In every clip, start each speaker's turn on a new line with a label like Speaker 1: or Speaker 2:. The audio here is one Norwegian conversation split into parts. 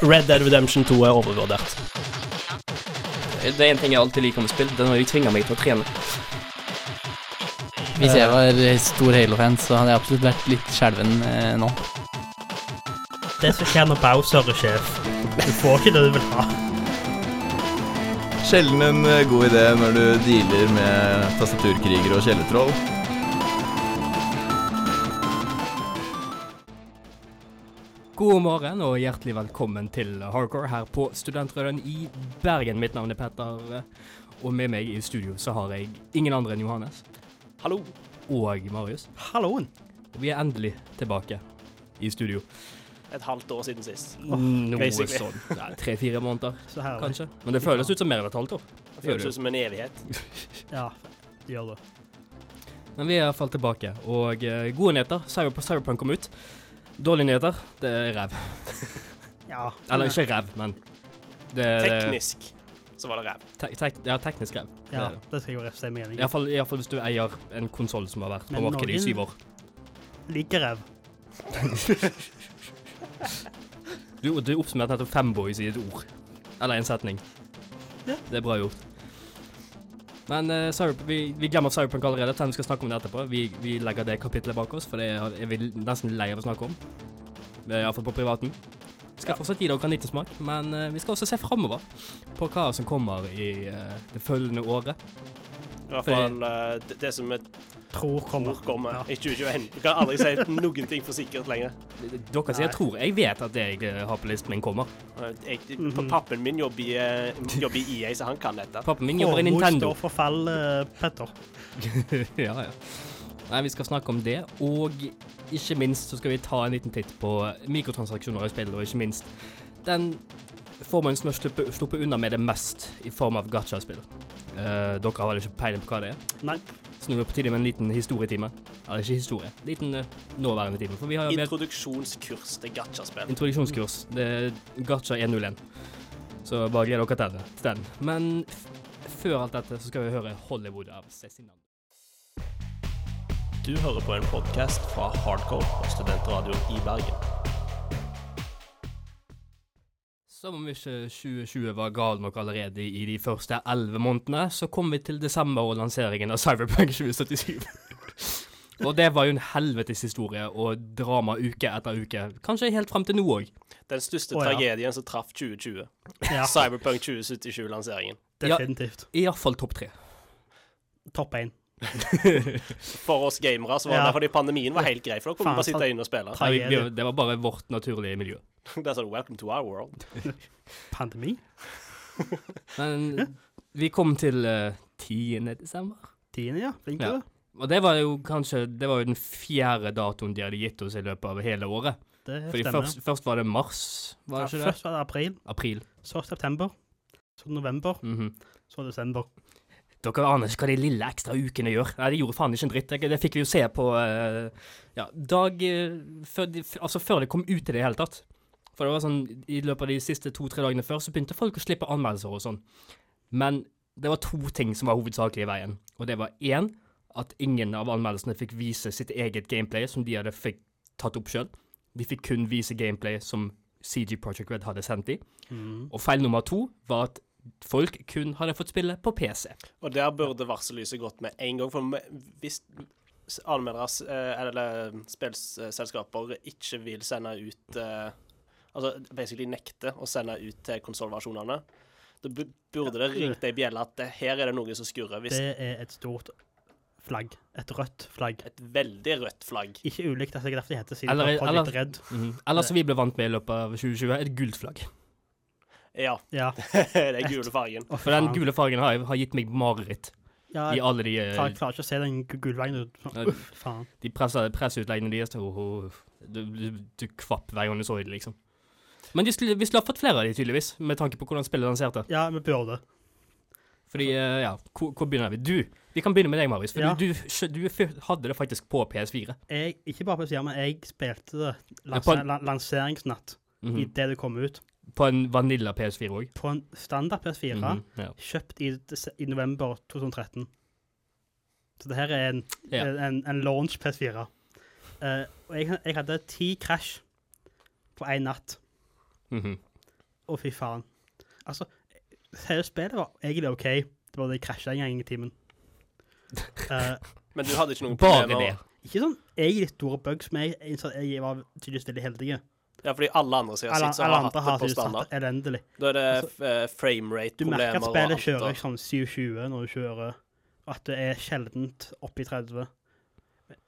Speaker 1: Red Dead Redemption 2 er overvurdert.
Speaker 2: Det er en ting jeg alltid liker med spill. Det er når de tvinger meg til å trene.
Speaker 3: Hvis jeg var stor Halo-fan, så hadde jeg absolutt vært litt skjelven eh, nå.
Speaker 4: Det som skjer når Bowser er sjef. Du får ikke det du vil ha.
Speaker 5: Sjelden en eh, god idé når du dealer med tastaturkrigere og kjellertroll.
Speaker 2: God morgen og hjertelig velkommen til Hardcore her på Studentradioen i Bergen. Mitt navn er Petter, og med meg i studio så har jeg ingen andre enn Johannes. Hallo. Og Marius.
Speaker 6: Halloen.
Speaker 2: Og vi er endelig tilbake i studio.
Speaker 6: Et halvt år siden sist.
Speaker 2: Noe
Speaker 6: basically.
Speaker 2: sånn. ja, Tre-fire måneder,
Speaker 4: Så herlig.
Speaker 2: kanskje. Men det føles ut som mer enn et halvt år.
Speaker 6: Det føles ut som en evighet.
Speaker 4: Ja, det gjør det.
Speaker 2: Men vi er iallfall tilbake. Og eh, gode nyheter. Cyberpunk, Cyberpunk kom ut. Dårlige nyheter. Det er ræv.
Speaker 4: Ja.
Speaker 2: Eller ikke ræv, men det er-
Speaker 6: Teknisk så var det ræv.
Speaker 2: Te tek ja, teknisk ræv. Det
Speaker 4: Ja,
Speaker 2: er det.
Speaker 4: det skal jeg jo refse meg enig i.
Speaker 2: Iallfall, iallfall hvis du eier en konsoll som har vært på
Speaker 4: Men
Speaker 2: markedet i
Speaker 4: noen-
Speaker 2: syv år.
Speaker 4: Like ræv.
Speaker 2: Du, du oppsummerte nettopp Femboys i et ord. Eller en setning.
Speaker 4: Ja.
Speaker 2: Det er bra gjort. Men eh, Cyberpunk- vi, vi glemmer Cyberpunk allerede. Tenk, Vi skal snakke om det etterpå. Vi, vi legger det kapitlet bak oss, for det er, er vi nesten lei av å snakke om. Iallfall på privaten. Vi skal fortsatt gi dere en liten smak, men eh, vi skal også se framover på hva som kommer i eh, det følgende året.
Speaker 6: I hvert fall eh, det, det som vi
Speaker 4: Tror kommer.
Speaker 6: tror kommer
Speaker 4: Ja.
Speaker 6: i 2021. Du kan aldri si noen ting for sikkert lenger.
Speaker 2: Dere sier 'tror'. Jeg vet at det jeg eh, har på listen min, kommer.
Speaker 6: Eh, Jeg,
Speaker 4: Mhm.
Speaker 6: pa- pappen min jobber i, eh, jobber i EA, så han kan dette.
Speaker 2: Pappen min jobber i Nintendo.
Speaker 4: står for fall, eh, Petter.
Speaker 2: ja, ja. Nei, vi skal snakke om det, og ikke minst så skal vi ta en liten titt på mikrotransaksjoner i spill, og ikke minst den formen som har sluppet, sluppet unna med det mest i form av gacha-spill. Eh, dere har vel ikke peiling på hva det er,
Speaker 4: Nei.
Speaker 2: så nå er det på tide med en liten historietime. Eller ikke historie, liten eh, nåværende time, for vi har jo mer
Speaker 6: Introduksjonskurs til gachaspill.
Speaker 2: introduksjonskurs. Det er gacha 101. Så bare gled dere til den- til den. Men f før alt dette så skal vi høre Hollywood av Cezinando.
Speaker 6: Du hører på en podkast fra Hardcore og Studentradioen i Bergen.
Speaker 2: Som om ikke 2020 var gal nok allerede i de første elleve månedene, så kom vi til desember og lanseringen av Cyberpunk 2077. og det var jo en helvetes historie og drama uke etter uke. Kanskje helt frem til nå òg.
Speaker 6: Den største
Speaker 4: Å, ja.
Speaker 6: tragedien som traff 2020.
Speaker 4: Ja,
Speaker 6: Cyberpunk 2077-lanseringen.
Speaker 4: definitivt.
Speaker 2: Iallfall topp tre.
Speaker 4: Topp én.
Speaker 6: For oss gamere så var det
Speaker 4: Ja.
Speaker 6: derfor de pandemien var helt grei, for da kunne
Speaker 4: Faen,
Speaker 6: vi bare sitte
Speaker 4: sant.
Speaker 6: inne og spille.
Speaker 2: Nei,
Speaker 4: Tragedie.
Speaker 2: vi- Det var bare vårt naturlige miljø.
Speaker 6: Der sa du 'Welcome to our world'.
Speaker 4: Pandemi.
Speaker 2: Men vi kom til eh, 10. desember.
Speaker 4: Tiende, ja. Flink
Speaker 2: Ja.
Speaker 4: du. er.
Speaker 2: Og det var jo kanskje Det var jo den fjerde datoen de hadde gitt oss i løpet av hele året.
Speaker 4: Det
Speaker 2: Fordi
Speaker 4: stemmer.
Speaker 2: først, først var det mars, var det
Speaker 4: ja,
Speaker 2: ikke det?
Speaker 4: først var det april,
Speaker 2: April.
Speaker 4: så september, så november,
Speaker 2: Mhm.
Speaker 4: så desember.
Speaker 2: Dere aner ikke hva de lille ekstra ukene gjør. Nei, de gjorde faen ikke en dritt. Det, det fikk vi jo se på eh, ja, dag eh, før de, f- Altså før det kom ut i det hele tatt. For det var sånn, I løpet av de siste to-tre dagene før så begynte folk å slippe anmeldelser og sånn. Men det var to ting som var hovedsakelig i veien. Og det var én at ingen av anmeldelsene fikk vise sitt eget gameplay som de hadde fikk tatt opp sjøl. De fikk kun vise gameplay som CG Project Red hadde sendt de.
Speaker 4: Mm.
Speaker 2: Og feil nummer to var at folk kun hadde fått spille på PC.
Speaker 6: Og der burde varsellyset gått med en gang, for me- hvis anmeldere s- eh, eller spillselskaper ikke vil sende ut eh, Altså basically nekte å sende ut til konsollversjonene, da bu- burde det ringt ei bjelle at det, her er det noe som skurrer. Hvis
Speaker 4: Det er et stort flagg. Et rødt flagg.
Speaker 6: et veldig rødt flagg
Speaker 4: Ikke ulikt, altså, jeg er derfor de heter siden
Speaker 2: Eller-
Speaker 4: eller, Project
Speaker 2: eller-
Speaker 4: Red.
Speaker 2: Eller som vi ble vant med i løpet av 2020, et gult flagg.
Speaker 6: Ja,
Speaker 4: Ja.
Speaker 6: det er gule fargen.
Speaker 4: Å,
Speaker 2: For den
Speaker 4: faen.
Speaker 2: gule fargen har, har gitt meg mareritt
Speaker 4: ja,
Speaker 2: i alle de,
Speaker 4: Jeg klarer ikke å se den gu- gule veien. ut.
Speaker 2: Nei.
Speaker 4: Uff, faen.
Speaker 2: de pressa- presseutleggene deres. til- åh, Du, du, du kvapp hver gang du så det, liksom. Men de skulle, vi skulle ha fått flere av de, tydeligvis, med tanke på hvordan spillet lanserte.
Speaker 4: Ja, vi burde.
Speaker 2: Fordi, eh, ja, hvor, hvor begynner vi? Du. Vi kan begynne med deg, Marius. For
Speaker 4: Ja.
Speaker 2: du, du, du f- hadde det faktisk på PS4.
Speaker 4: Jeg, ikke bare på siden, men jeg spilte det
Speaker 2: Ja, på
Speaker 4: lanser,
Speaker 2: en-
Speaker 4: la- lanseringsnatt
Speaker 2: Mhm.
Speaker 4: idet det kom ut.
Speaker 2: På en vanilla PS4 òg.
Speaker 4: På en standard PS4,
Speaker 2: Mhm, ja.
Speaker 4: kjøpt i, des- i november 2013. Så det her er en,
Speaker 2: Ja.
Speaker 4: Eh, en, en launch PS4. Eh, og jeg, jeg hadde ti crash på én natt.
Speaker 2: Mhm.
Speaker 4: Å, fy faen. Altså, hele spillet var egentlig OK. Det var det jeg krasja en gang i timen. Eh,
Speaker 6: Men du hadde ikke noen
Speaker 2: Bare
Speaker 6: problemer?
Speaker 2: det.
Speaker 4: ikke sånn egentlig store bugs, men jeg, innså at jeg var tydeligvis veldig heldig.
Speaker 6: Ja, fordi alle andre sier
Speaker 4: Alle,
Speaker 6: sitt, så
Speaker 4: alle
Speaker 6: har hatt
Speaker 4: andre
Speaker 6: det
Speaker 4: har
Speaker 6: på
Speaker 4: tydeligvis hatt
Speaker 6: standard.
Speaker 4: det elendig.
Speaker 6: Da er det eh, frame rate
Speaker 4: Du merker
Speaker 6: problemer
Speaker 4: at
Speaker 6: og
Speaker 4: spillet
Speaker 6: alt,
Speaker 4: kjører
Speaker 6: og-
Speaker 4: ikke sånn 720 når du kjører, og at det er sjeldent oppi 30. Men-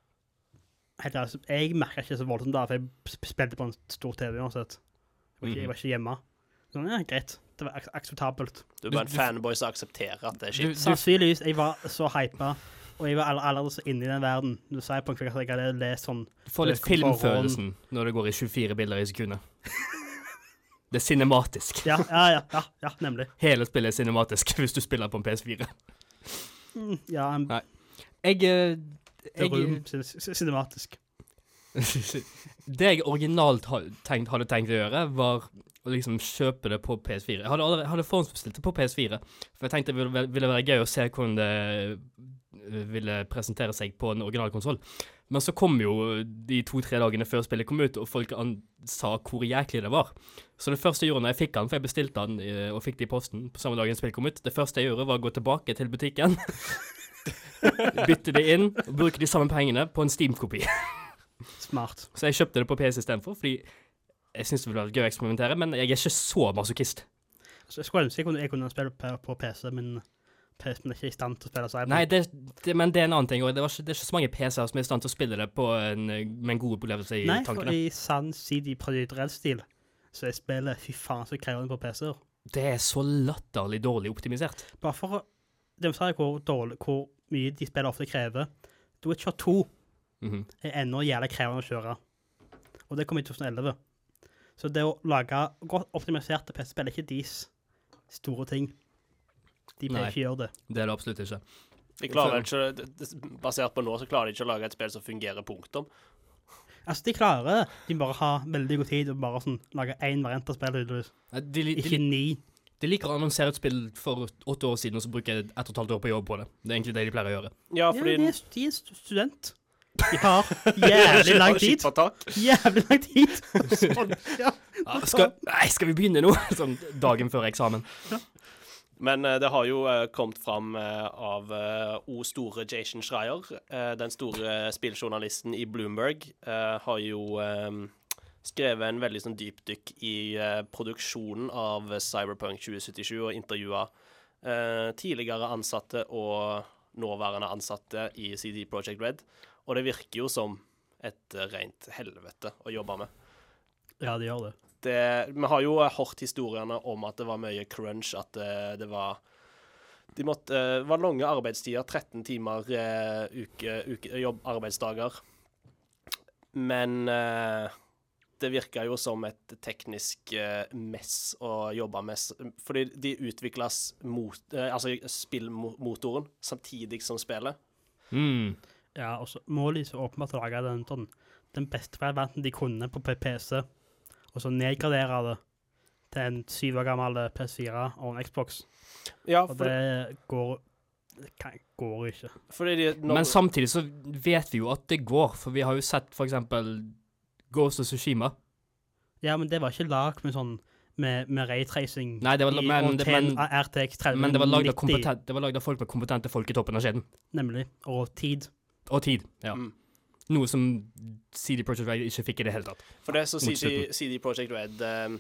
Speaker 4: Helt ærlig, så- jeg merker ikke så voldsomt da, for jeg sp- spilte på en stor TV uansett. Jeg var ikke,
Speaker 6: Mhm.
Speaker 4: jeg var ikke hjemme. Sånn, ja, greit. Det var ak akseptabelt.
Speaker 6: Du er bare en
Speaker 2: Du- du-
Speaker 6: fanboy som aksepterer at det er
Speaker 2: Du,
Speaker 6: skitt.
Speaker 2: du,
Speaker 4: Sannsynligvis, jeg var så hypa, og jeg var all- allerede så inne i den verden. Du sier på en kveld at jeg hadde lest sånn,
Speaker 2: du får litt
Speaker 4: Det kom på
Speaker 2: filmfølelsen når det går i 24 bilder i sekundet. Det er cinematisk.
Speaker 4: ja, ja, ja, ja, ja nemlig.
Speaker 2: Hele spillet er cinematisk hvis du spiller på en PS4.
Speaker 4: Mm, Ja, en
Speaker 2: Jeg, eh,
Speaker 4: The Room,
Speaker 2: jeg
Speaker 4: cin- cin- cinematisk.
Speaker 2: Det jeg originalt ha- tenkt, hadde tenkt å gjøre, var å liksom kjøpe det på PS4. Jeg hadde, allerede, hadde forhåndsbestilt det på PS4, for jeg tenkte det ville, ville være gøy å se hvordan det eh, ville presentere seg på en original konsoll. Men så kom jo de to-tre dagene før spillet kom ut, og folk an sa hvor jæklig det var. Så det første jeg gjorde når jeg fikk den, for jeg bestilte den eh, og fikk det i posten på samme dagen spillet kom ut, det første jeg gjorde var å gå tilbake til butikken, bytte det inn, og bruke de samme pengene på en Steam-kopi.
Speaker 4: Smart.
Speaker 2: Så jeg kjøpte det på PC istedenfor, fordi jeg syns det ville vært gøy å eksperimentere, men jeg er ikke så masochist.
Speaker 4: Så jeg skulle ønske jeg kunne, jeg kunne spille på, på PC, men PC-en er ikke i stand til å spille cyber.
Speaker 2: Nei, det, det, men det er en annen ting. Og det, var ikke, det er ikke så mange PC-er som er i stand til å spille det på en, med en god opplevelse i
Speaker 4: Nei, for
Speaker 2: tankene.
Speaker 4: i sann CD Projekt Red-stil, så er spillet fy faen så krevende på PC-er.
Speaker 2: Det er så latterlig dårlig optimisert.
Speaker 4: Bare for å demonstrere hvor, dårlig, hvor mye de spiller ofte krever. The Witcher 2
Speaker 2: Mhm.
Speaker 4: er ennå jævlig krevende å kjøre, og det kom i 2011. Så det å lage godt optimiserte PC-spill er ikke deres store ting. De pleier
Speaker 2: Nei.
Speaker 4: ikke å gjøre det.
Speaker 2: Det er det absolutt ikke.
Speaker 6: De klarer ikke, det- det- basert på nå så klarer de ikke å lage et spill som fungerer, punktum.
Speaker 4: Altså, de klarer det. De må bare har veldig god tid og bare sånn, lage én variant av spillet, tydeligvis.
Speaker 2: Nei, De, li- de,
Speaker 4: Ikke
Speaker 2: li-
Speaker 4: ni.
Speaker 2: de liker å annonsere et spill for åtte år siden, og så bruker jeg ett og et halvt år på å jobbe på det. Det er egentlig det de pleier å gjøre.
Speaker 6: Ja,
Speaker 4: Ja,
Speaker 6: fordi
Speaker 4: de er, de er stu- student. De har jævlig lang tid. Jævlig lang tid. Ja.
Speaker 2: Ah, skal, nei, skal vi begynne nå? Sånn dagen før eksamen.
Speaker 6: Men eh, det har jo eh, kommet fram eh, av eh, O store Jason Schreier, eh, den store spilljournalisten i Bloomberg, eh, har jo eh, skrevet en veldig sånn dypdykk i eh, produksjonen av Cyberpunk 2077 og intervjua eh, tidligere ansatte og nåværende ansatte i CD Project Red, og det virker jo som et eh, rent helvete å jobbe med
Speaker 4: ja, de gjør det.
Speaker 6: det, Vi har jo eh, hørt historiene om at det var mye crunch, at eh, det var de måtte, eh, det var lange arbeidstider, 13 timer eh, uke, uke, jobb, arbeidsdager. Men eh, det virka jo som et teknisk eh, mess å jobbe med. s- Fordi de utvikles mot, eh, altså spillmotoren samtidig som spillet.
Speaker 2: Mm.
Speaker 4: Ja, og så må de så åpenbart lage den, sånn, den beste varianten de kunne på P- PC, og så nedgradere det til en syv år gammel eh, PS4 og en Xbox.
Speaker 6: Ja,
Speaker 4: Og
Speaker 6: for,
Speaker 4: det går Det kan- går ikke.
Speaker 6: fordi de, når,
Speaker 2: Men samtidig så vet vi jo at det går, for vi har jo sett for eksempel Ghost of Tsushima.
Speaker 4: Ja, men det var ikke lag med sånn med, med raytracing
Speaker 2: Nei, det var,
Speaker 4: i-
Speaker 2: men,
Speaker 4: og
Speaker 2: det, men,
Speaker 4: ten- RTX 3090.
Speaker 2: men det var lagd av, kompetent- det var lagd av folk med kompetente folk i toppen av kjeden.
Speaker 4: Nemlig. Og tid.
Speaker 2: Og tid. ja.
Speaker 6: Mm.
Speaker 2: Noe som CD Projekt Red ikke fikk i det hele tatt.
Speaker 6: For det som
Speaker 2: Mot
Speaker 6: CD, CD Projekt Red eh,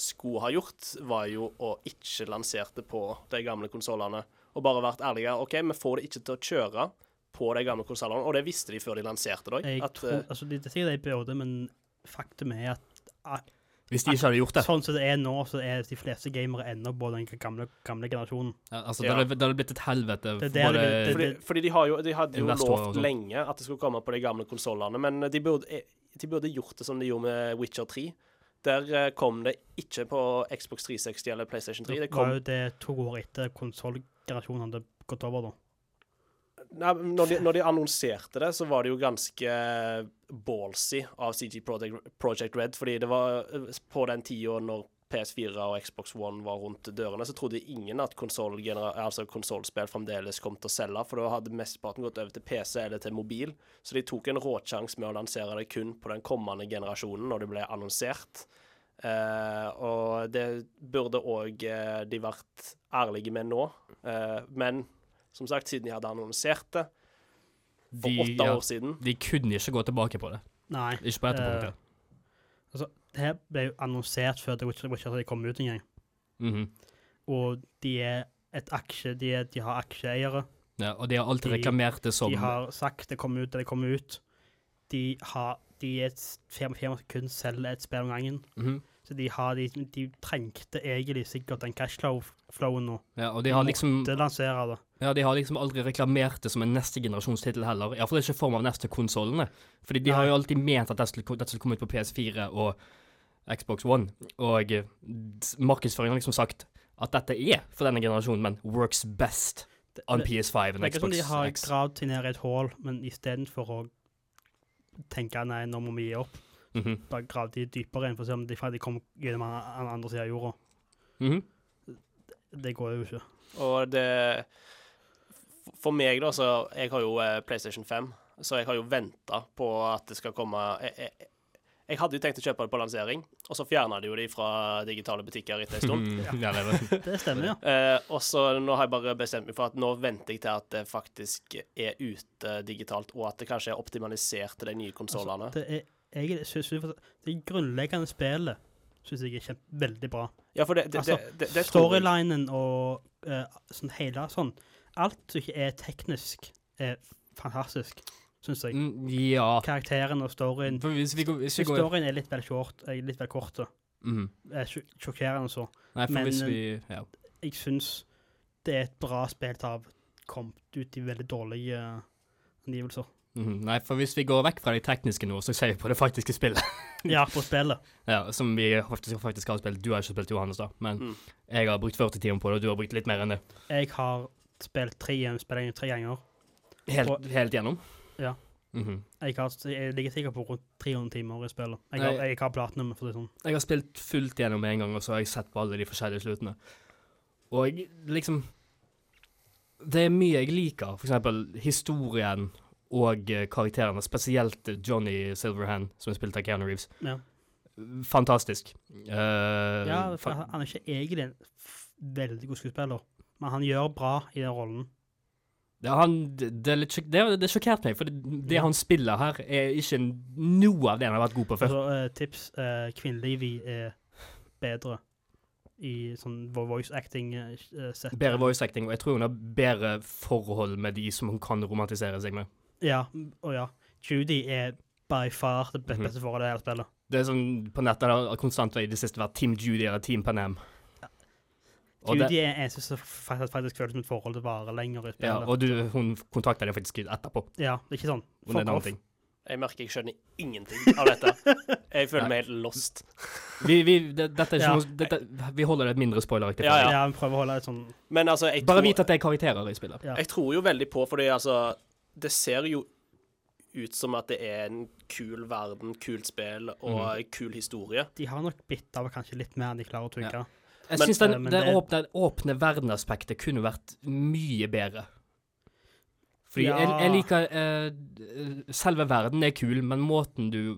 Speaker 6: skulle ha gjort, var jo å ikke lansere det på de gamle konsollene. Og bare vært ærlige. OK, vi får det ikke til å kjøre på de gamle konsollene. Og det visste de før de lanserte det eh,
Speaker 4: Jeg
Speaker 6: òg.
Speaker 4: tror, altså, det det sier det i periode, men faktum er at
Speaker 2: Hvis de ikke hadde gjort det.
Speaker 4: sånn som det er nå, så er de fleste gamere ennå på den gamle, gamle generasjonen.
Speaker 2: Ja, altså,
Speaker 6: Ja.
Speaker 2: det, hadde, det hadde blitt et helvete.
Speaker 4: Det er det
Speaker 2: for
Speaker 4: det
Speaker 2: både-
Speaker 4: vil-
Speaker 6: Fordi, fordi de, har jo, de hadde jo
Speaker 2: Investorer og
Speaker 6: lovt
Speaker 2: sånt.
Speaker 6: lenge at det skulle komme på de gamle konsollene, men de burde, eh, de burde gjort det som de gjorde med Witcher 3. Der eh, kom det ikke på Xbox 360 eller PlayStation 3.
Speaker 4: Det
Speaker 6: Det
Speaker 4: var
Speaker 6: kom
Speaker 4: jo det to år etter konsollgenerasjonen hadde gått over, da.
Speaker 6: Nei, men når, de, når de annonserte det, så var det jo ganske ballsy av CG Project, Project Red, fordi det var eh, på den tida når PS4 og Xbox One var rundt dørene, så trodde ingen at konsollspill altså konsolspill fremdeles kom til å selge, for da hadde mesteparten gått over til PC eller til mobil. Så de tok en råsjanse med å lansere det kun på den kommende generasjonen når det ble annonsert. Eh, og det burde òg de vært ærlige med nå. Eh, men som sagt, siden de hadde annonsert det for
Speaker 2: De,
Speaker 6: åtte
Speaker 2: ja,
Speaker 6: år siden
Speaker 2: de kunne ikke gå tilbake på det.
Speaker 4: Nei.
Speaker 2: Ikke på dette
Speaker 4: Eh,
Speaker 2: punktet.
Speaker 4: Altså, det her ble jo annonsert før The Witcher, Witcher 3 kom ut engang.
Speaker 2: Mhm.
Speaker 4: Og de er et aksje, de, er, de har aksjeeiere.
Speaker 2: ja, og de har alltid
Speaker 4: de-
Speaker 2: reklamert det som
Speaker 4: De har sagt det kommer ut, det kommer ut. De, har, de er et firma firma som kun selger et spill om gangen.
Speaker 2: Mhm.
Speaker 4: Så de, har, de, de trengte egentlig sikkert den cashflowen nå.
Speaker 2: ja, Og de har liksom
Speaker 4: Det lanserer det.
Speaker 2: Ja, de har liksom aldri reklamert det som en neste generasjonstittel heller. Iallfall ikke i form av neste konsollene. Fordi de har jo alltid ment at dette skulle, dette skulle komme ut på PS4 og Xbox One. Og eh, s- markedsføringen har liksom sagt at dette er for denne generasjonen, men works best
Speaker 4: Det,
Speaker 2: on
Speaker 4: det,
Speaker 2: PS5
Speaker 4: det
Speaker 2: and
Speaker 4: er ikke som
Speaker 2: Xbox
Speaker 4: de har
Speaker 2: X.
Speaker 4: gravd seg ned i et hull, men istedenfor å tenke nei, nå må vi gi opp,
Speaker 2: Mhm.
Speaker 4: bare grav de dypere inn for å se om de faktisk kom gjennom den andre siden av jorda.
Speaker 2: Mhm.
Speaker 4: Det går jo ikke.
Speaker 6: Og det f- For meg, da, så Jeg har jo eh, PlayStation 5, så jeg har jo venta på at det skal komme jeg, jeg, jeg hadde jo tenkt å kjøpe det på lansering, og så fjerna de jo de fra digitale butikker etter en stund.
Speaker 2: Mhm. Ja, det er det.
Speaker 4: Det stemmer, ja.
Speaker 6: Eh, og så nå har jeg bare bestemt meg for at nå venter jeg til at det faktisk er ute digitalt, og at det kanskje er optimalisert til de nye konsollene.
Speaker 4: Det er, jeg synes, det grunnleggende spillet syns jeg er kjempe, veldig bra.
Speaker 6: Ja, for det, det,
Speaker 4: altså,
Speaker 6: det, det, det tror jeg
Speaker 4: Storylinen og eh, sånn hele sånn Alt som ikke er teknisk, er fantastisk, syns jeg.
Speaker 2: Mm, ja
Speaker 4: Karakteren og storyen
Speaker 2: For hvis vi går, hvis vi går
Speaker 4: Storyen er litt vel short, eh, litt vel kort. da.
Speaker 2: Mhm.
Speaker 4: Eh, sj- Sjokkerende så.
Speaker 2: Nei, for
Speaker 4: Men- eh,
Speaker 2: hvis vi ja.
Speaker 4: Jeg syns det er et bra spill til å ha kommet ut i veldig dårlige eh, angivelser.
Speaker 2: Mhm. Nei, for hvis vi går vekk fra det tekniske nå, så ser vi på det faktiske spillet.
Speaker 4: Ja, på spillet.
Speaker 2: Ja, som vi faktisk, faktisk har spilt. Du har ikke spilt Johannes, da. Men
Speaker 6: Mm.
Speaker 2: jeg har brukt 40 timer på det, og du har brukt litt mer enn det.
Speaker 4: Jeg har spilt tre, spillet tre ganger.
Speaker 2: Helt,
Speaker 4: Og-
Speaker 2: helt gjennom?
Speaker 4: Ja.
Speaker 2: Mhm.
Speaker 4: Jeg, har, jeg ligger sikkert på rundt 300 timer i spillet. Jeg
Speaker 2: Nei.
Speaker 4: har, jeg har platinum, for å si det sånn.
Speaker 2: Jeg har spilt fullt gjennom en gang, og så har jeg sett på alle de forskjellige sluttene. Og liksom Det er mye jeg liker, for eksempel historien og eh, karakterene, spesielt Johnny Silverhand, som er spilt av Keanu Reeves.
Speaker 4: Ja.
Speaker 2: Fantastisk. Eh,
Speaker 4: ja, for
Speaker 2: fa-
Speaker 4: han han er ikke egentlig en f- veldig god skuespiller, men han gjør bra i den rollen.
Speaker 2: Det, han, det, det er litt sjok det, det sjokkerte meg, for det, det han spiller her, er ikke noe av det han har vært god på før.
Speaker 4: Så eh, tips uh, kvinnelig vi er bedre i sånn vo- voice eh, acting-sett.
Speaker 2: Bedre voice acting, og jeg tror hun har bedre forhold med de som hun kan romantisere seg med.
Speaker 4: ja, og ja. Judy er by far det be-
Speaker 2: Mhm.
Speaker 4: beste forholdet i hele spillet.
Speaker 2: Det er sånn på nettet har konstant i det siste vært Team Judy eller Team Panem. Og, det,
Speaker 4: Judy er eneste som faktisk, faktisk føles som et forhold det varer lenger i
Speaker 2: ja,
Speaker 4: spillet. Ja,
Speaker 2: og du, hun kontakter deg faktisk etterpå.
Speaker 4: det er ikke sånn.
Speaker 2: Om det er en
Speaker 4: Fuck
Speaker 2: annen
Speaker 4: off.
Speaker 2: ting.
Speaker 6: Jeg merker jeg skjønner ingenting av dette. Jeg føler meg helt lost.
Speaker 2: Vi, vi, det, dette er ikke
Speaker 4: Ja.
Speaker 2: noe, dette, vi holder det mindre spoileraktig. for
Speaker 6: Ja,
Speaker 4: Ja,
Speaker 2: deg.
Speaker 4: vi prøver å holde et sånn
Speaker 6: Men altså, jeg
Speaker 2: Bare
Speaker 6: tror-
Speaker 2: vit at det er karakterer i spillet.
Speaker 4: Ja.
Speaker 6: Jeg tror jo veldig på, fordi altså Det ser jo ut som at det er en kul verden, kult spill og
Speaker 2: Mhm.
Speaker 6: kul historie.
Speaker 4: De har nok bitt av kanskje litt mer enn de klarer å trykke.
Speaker 2: Jeg
Speaker 6: Men-
Speaker 2: syns den,
Speaker 4: Eh, men
Speaker 2: det,
Speaker 4: det-
Speaker 2: åpne, åpne verden-aspektet kunne vært mye bedre. Fordi jeg,
Speaker 4: Ja.
Speaker 2: jeg liker eh, d- Selve verden er kul, men måten du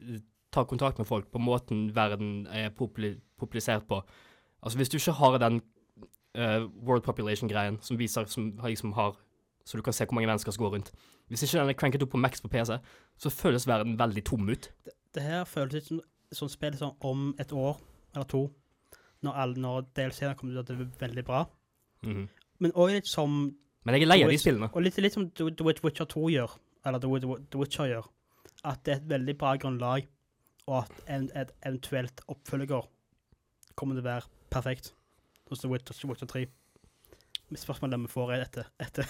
Speaker 2: eh, tar kontakt med folk på, måten verden er populi- populisert på Altså, hvis du ikke har den eh, world population-greien som viser som, har- liksom har Så du kan se hvor mange mennesker som går rundt Hvis ikke den er cranket opp på max på PC, så føles verden veldig tom ut.
Speaker 4: det her føles litt som, som spill som om et år eller to, når, alle- når DLC-ene kommer ut, at det blir veldig bra. Mhm. Men òg litt som
Speaker 2: Men jeg er lei av de
Speaker 4: Witch-
Speaker 2: spillene.
Speaker 4: Og litt, litt som The The Witcher 2 gjør, eller The Wit- The Witcher gjør, at det er et veldig bra grunnlag, og at en, et eventuelt oppfølger kommer til å være perfekt. Hos The Witcher, The Witcher 3. Men Spørsmålet om vi får er etter, etter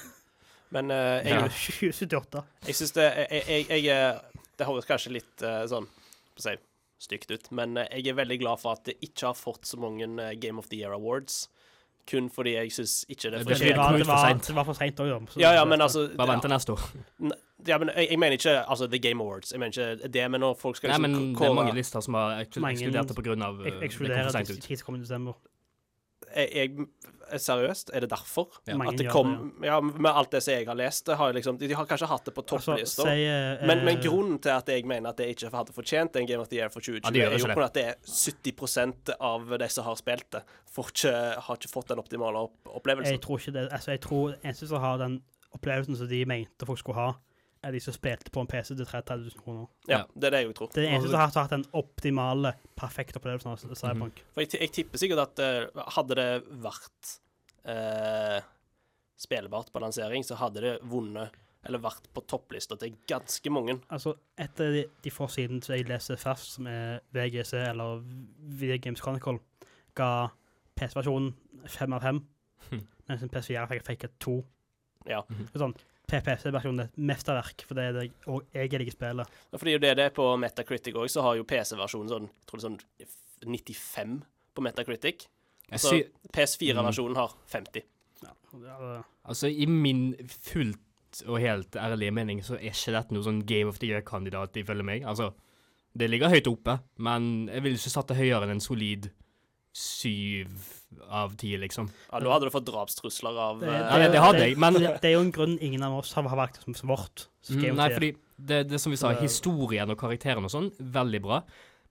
Speaker 6: Men eh, jeg,
Speaker 2: Ja.
Speaker 4: 2078.
Speaker 6: jeg syns det jeg, jeg, jeg, eh, Det høres kanskje litt eh, sånn på si, stygt ut, men eh, jeg er veldig glad for at det ikke har fått så mange eh, Game of the Year Awards. Kun fordi jeg syns ikke det
Speaker 2: Det blir
Speaker 4: Men Det
Speaker 6: fortjener
Speaker 4: var,
Speaker 2: kommet
Speaker 4: det
Speaker 2: for
Speaker 4: var,
Speaker 2: sent.
Speaker 4: det var for seint òg,
Speaker 6: Ja, ja, men altså
Speaker 2: Bare vent til neste år.
Speaker 6: N- Ja, men jeg, jeg mener ikke altså, The Game Awards. Jeg mener ikke det, men når folk skal
Speaker 2: Nei, men
Speaker 6: liksom
Speaker 2: det er
Speaker 6: kåre
Speaker 2: mange lister som har eksklu-
Speaker 4: Mange-
Speaker 2: ekskludert det på grunn av eh,
Speaker 4: Ek-
Speaker 2: det kom
Speaker 4: Ekskluderer
Speaker 2: for seint ut.
Speaker 4: 30. desember.
Speaker 6: jeg, jeg, Seriøst, er det derfor?
Speaker 2: Ja.
Speaker 4: Mange
Speaker 6: At det
Speaker 4: gjør
Speaker 6: kom Ja, med alt det som jeg har lest, det har jeg liksom, de, de har kanskje hatt det på
Speaker 4: Altså,
Speaker 6: topplister.
Speaker 4: si, eh,
Speaker 6: men, men
Speaker 4: eh,
Speaker 6: grunnen til at jeg mener at det ikke hadde fortjent en Game of the Year for 2020,
Speaker 2: Ja, det gjør
Speaker 6: er jo
Speaker 2: ikke det.
Speaker 6: på grunn av at det er 70 av de som har spilt det, får ikke, har ikke fått den optimale opp opplevelsen.
Speaker 4: Jeg tror ikke det Altså, jeg tror eneste som har den opplevelsen som de mente folk skulle ha, er de som spilte på en PC til 30 000 kroner.
Speaker 6: Ja, det er det jeg tror.
Speaker 4: Det er den
Speaker 2: Altså-
Speaker 4: eneste som har hatt den optimale, perfekte opplevelsen av Cyberpunk.
Speaker 6: For jeg, jeg tipper sikkert at eh, hadde det vært eh, spillbart balansering, så hadde det vunnet eller vært på topplista til ganske mange.
Speaker 4: Altså, etter de, de få sidene som jeg leser først, som er VGC eller Video Games Chronicle, ga PC-versjonen fem av fem,
Speaker 2: Hm.
Speaker 4: mens en PS4 fikk, fikk et to.
Speaker 6: Ja.
Speaker 2: Mhm.
Speaker 4: Og Sånn, PPC-versjonen er et mesterverk, for det er det jeg- og jeg liker spillet.
Speaker 6: For det er jo det det er på Metacritic òg, så har jo PC-versjonen sånn, jeg tror det er sånn 95 på Metacritic.
Speaker 2: Jeg
Speaker 6: Så
Speaker 2: sy
Speaker 6: PS4-versjonen har 50.
Speaker 4: Ja, det-
Speaker 2: altså, i min fullt og helt ærlige mening så er ikke dette noe sånn Game of the Year-kandidat, ifølge meg. Altså, det ligger høyt oppe, men jeg ville ikke satt det høyere enn en solid syv av ti, liksom.
Speaker 6: Ja, nå hadde du fått drapstrusler av
Speaker 4: Det-
Speaker 6: eh,
Speaker 2: Ja, det, det hadde jeg, men
Speaker 4: Det, det er jo en grunn ingen av oss har, har valgt som vårt. så skal jeg
Speaker 2: Mm,
Speaker 4: jo
Speaker 2: Nei,
Speaker 4: si-
Speaker 2: fordi det, det som vi sa,
Speaker 4: Det-
Speaker 2: historien og karakteren og sånn, veldig bra.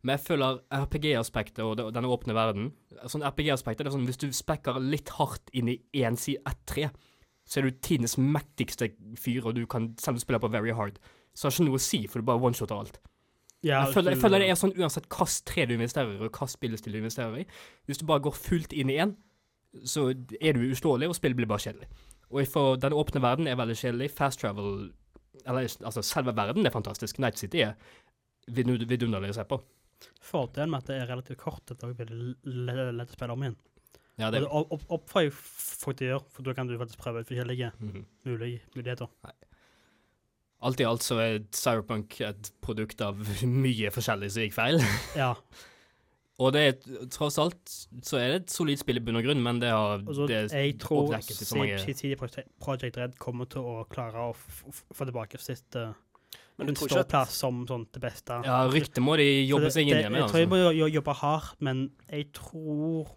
Speaker 2: Men jeg føler RPG-aspektet og det- denne åpne verden sånn RPG-aspektet, det er sånn Hvis du spekker litt hardt inn i én side ett tre, så er du tidenes mektigste fyr, og du kan, selv om du spiller på very hard, så har det ikke noe å si, for du bare one-shotter alt.
Speaker 4: Ja,
Speaker 2: jeg,
Speaker 4: altså,
Speaker 2: føler, jeg
Speaker 4: du-
Speaker 2: føler det er sånn uansett hvilket tre du investerer i, og hvilken spillestil du investerer i. Hvis du bare går fullt inn i én, så er du uslåelig, og spillet blir bare kjedelig. Og for den åpne verden er veldig kjedelig. Fast travel Eller altså, selve verden er fantastisk. Night City er vidun- vidunderlig å se på.
Speaker 4: Fordelen med at det er relativt kort, er at det er veldig le- lett å spille om igjen.
Speaker 2: Ja,
Speaker 4: Og det opp- opp- oppfordrer jeg folk til å gjøre, for da kan du faktisk prøve ut forskjellige
Speaker 2: Mhm.
Speaker 4: mulige muligheter.
Speaker 2: Alt i alt så er Cyberpunk et produkt av mye forskjellig som gikk feil.
Speaker 4: Ja,
Speaker 2: Og det er et- tross alt så er det et solid spill i bunn og grunn, men det har
Speaker 4: altså,
Speaker 2: det
Speaker 4: jeg tror
Speaker 2: oppdekket så mange-
Speaker 4: CD Project Red kommer til å klare å f f få tilbake sitt uh,
Speaker 6: Men du tror ikke at
Speaker 4: ståplass som sånn det beste.
Speaker 2: Ja, ryktet må de
Speaker 4: Så
Speaker 2: jobbe
Speaker 4: det-
Speaker 2: seg inn
Speaker 4: det-
Speaker 2: igjen med.
Speaker 4: Jeg tror jeg
Speaker 2: Altså.
Speaker 4: må jo- jo- jobbe hardt, men jeg tror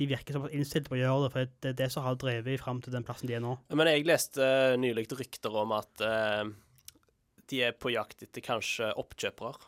Speaker 4: de virker såpass innstilt på å gjøre det, for det er det som har drevet fram til den plassen de er nå.
Speaker 6: Men jeg leste eh, nylig rykter om at eh, de er på jakt etter kanskje oppkjøpere.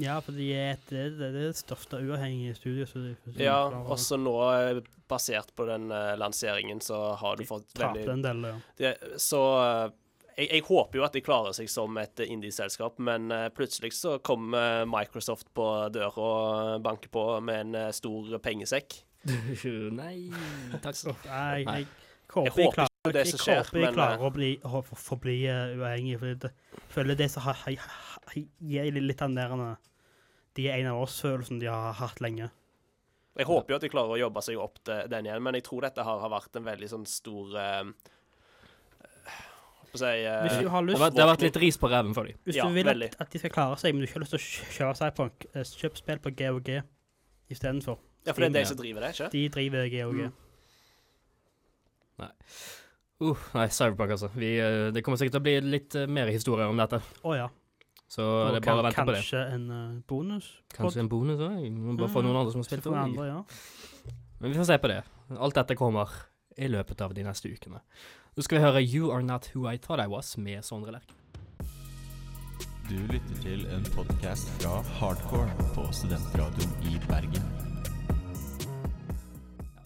Speaker 4: Ja, for de er et- det, det, det er det største uavhengige studioet. som de- som de
Speaker 6: Ja,
Speaker 4: klarer å-
Speaker 6: også nå, eh, basert på den eh, lanseringen, så har du fått
Speaker 4: tapte
Speaker 6: veldig
Speaker 4: en del, ja.
Speaker 6: det, Så eh, jeg, jeg håper jo at de klarer seg som et indie-selskap, men eh, plutselig så kommer Microsoft på døra og banker på med en eh, stor pengesekk.
Speaker 2: Nei, takk.
Speaker 4: Så, nei,
Speaker 2: Nei.
Speaker 4: jeg,
Speaker 6: Jeg
Speaker 4: håper jeg
Speaker 6: håper
Speaker 4: klarer,
Speaker 6: ikke det som skjer,
Speaker 4: jeg håper jeg
Speaker 6: men,
Speaker 4: klarer
Speaker 6: eh,
Speaker 4: å bli, å få- få bli eh, uavhengig, for det, jeg føler det som har- har- har- gir litt- litt av den der eh, De er en av oss-følelsen de har hatt lenge.
Speaker 6: Jeg håper jo at de klarer å jobbe seg opp til den igjen, men jeg tror dette har, har vært en veldig sånn stor eh, Hva skal jeg
Speaker 4: Hvis
Speaker 6: si eh,
Speaker 4: du har
Speaker 2: Det
Speaker 4: lyst
Speaker 2: har, vært- det har vært litt ris på ræven for dem.
Speaker 6: ja,
Speaker 4: Hvis du vil at,
Speaker 6: veldig.
Speaker 4: at de skal klare seg, men du ikke har lyst til å kjø- kjøre Cyberpunk, eh, kjøp spill på GOG istedenfor.
Speaker 6: Ja, Mm. for det er deg som driver det, ikke?
Speaker 4: De driver GOG.
Speaker 2: Uh, nei, Cyberpunk, altså. Vi, eh, det kommer sikkert til å bli litt eh, mer historier om dette.
Speaker 4: Å ja.
Speaker 2: Så
Speaker 4: Og
Speaker 2: det er bare å
Speaker 4: kan-
Speaker 2: vente på det.
Speaker 4: kanskje en eh, bonus?
Speaker 2: Kanskje en bonus òg? Bare for
Speaker 4: Mm.
Speaker 2: noen andre som har spilt
Speaker 4: For
Speaker 2: også.
Speaker 4: andre, ja.
Speaker 2: Men vi får se på det. Alt dette kommer i løpet av de neste ukene. Nå skal vi høre You Are Not Who I Thought I Was med Sondre Lerche.
Speaker 5: Du lytter til en podkast fra Hardcore på Studentradioen i Bergen.
Speaker 2: Ja,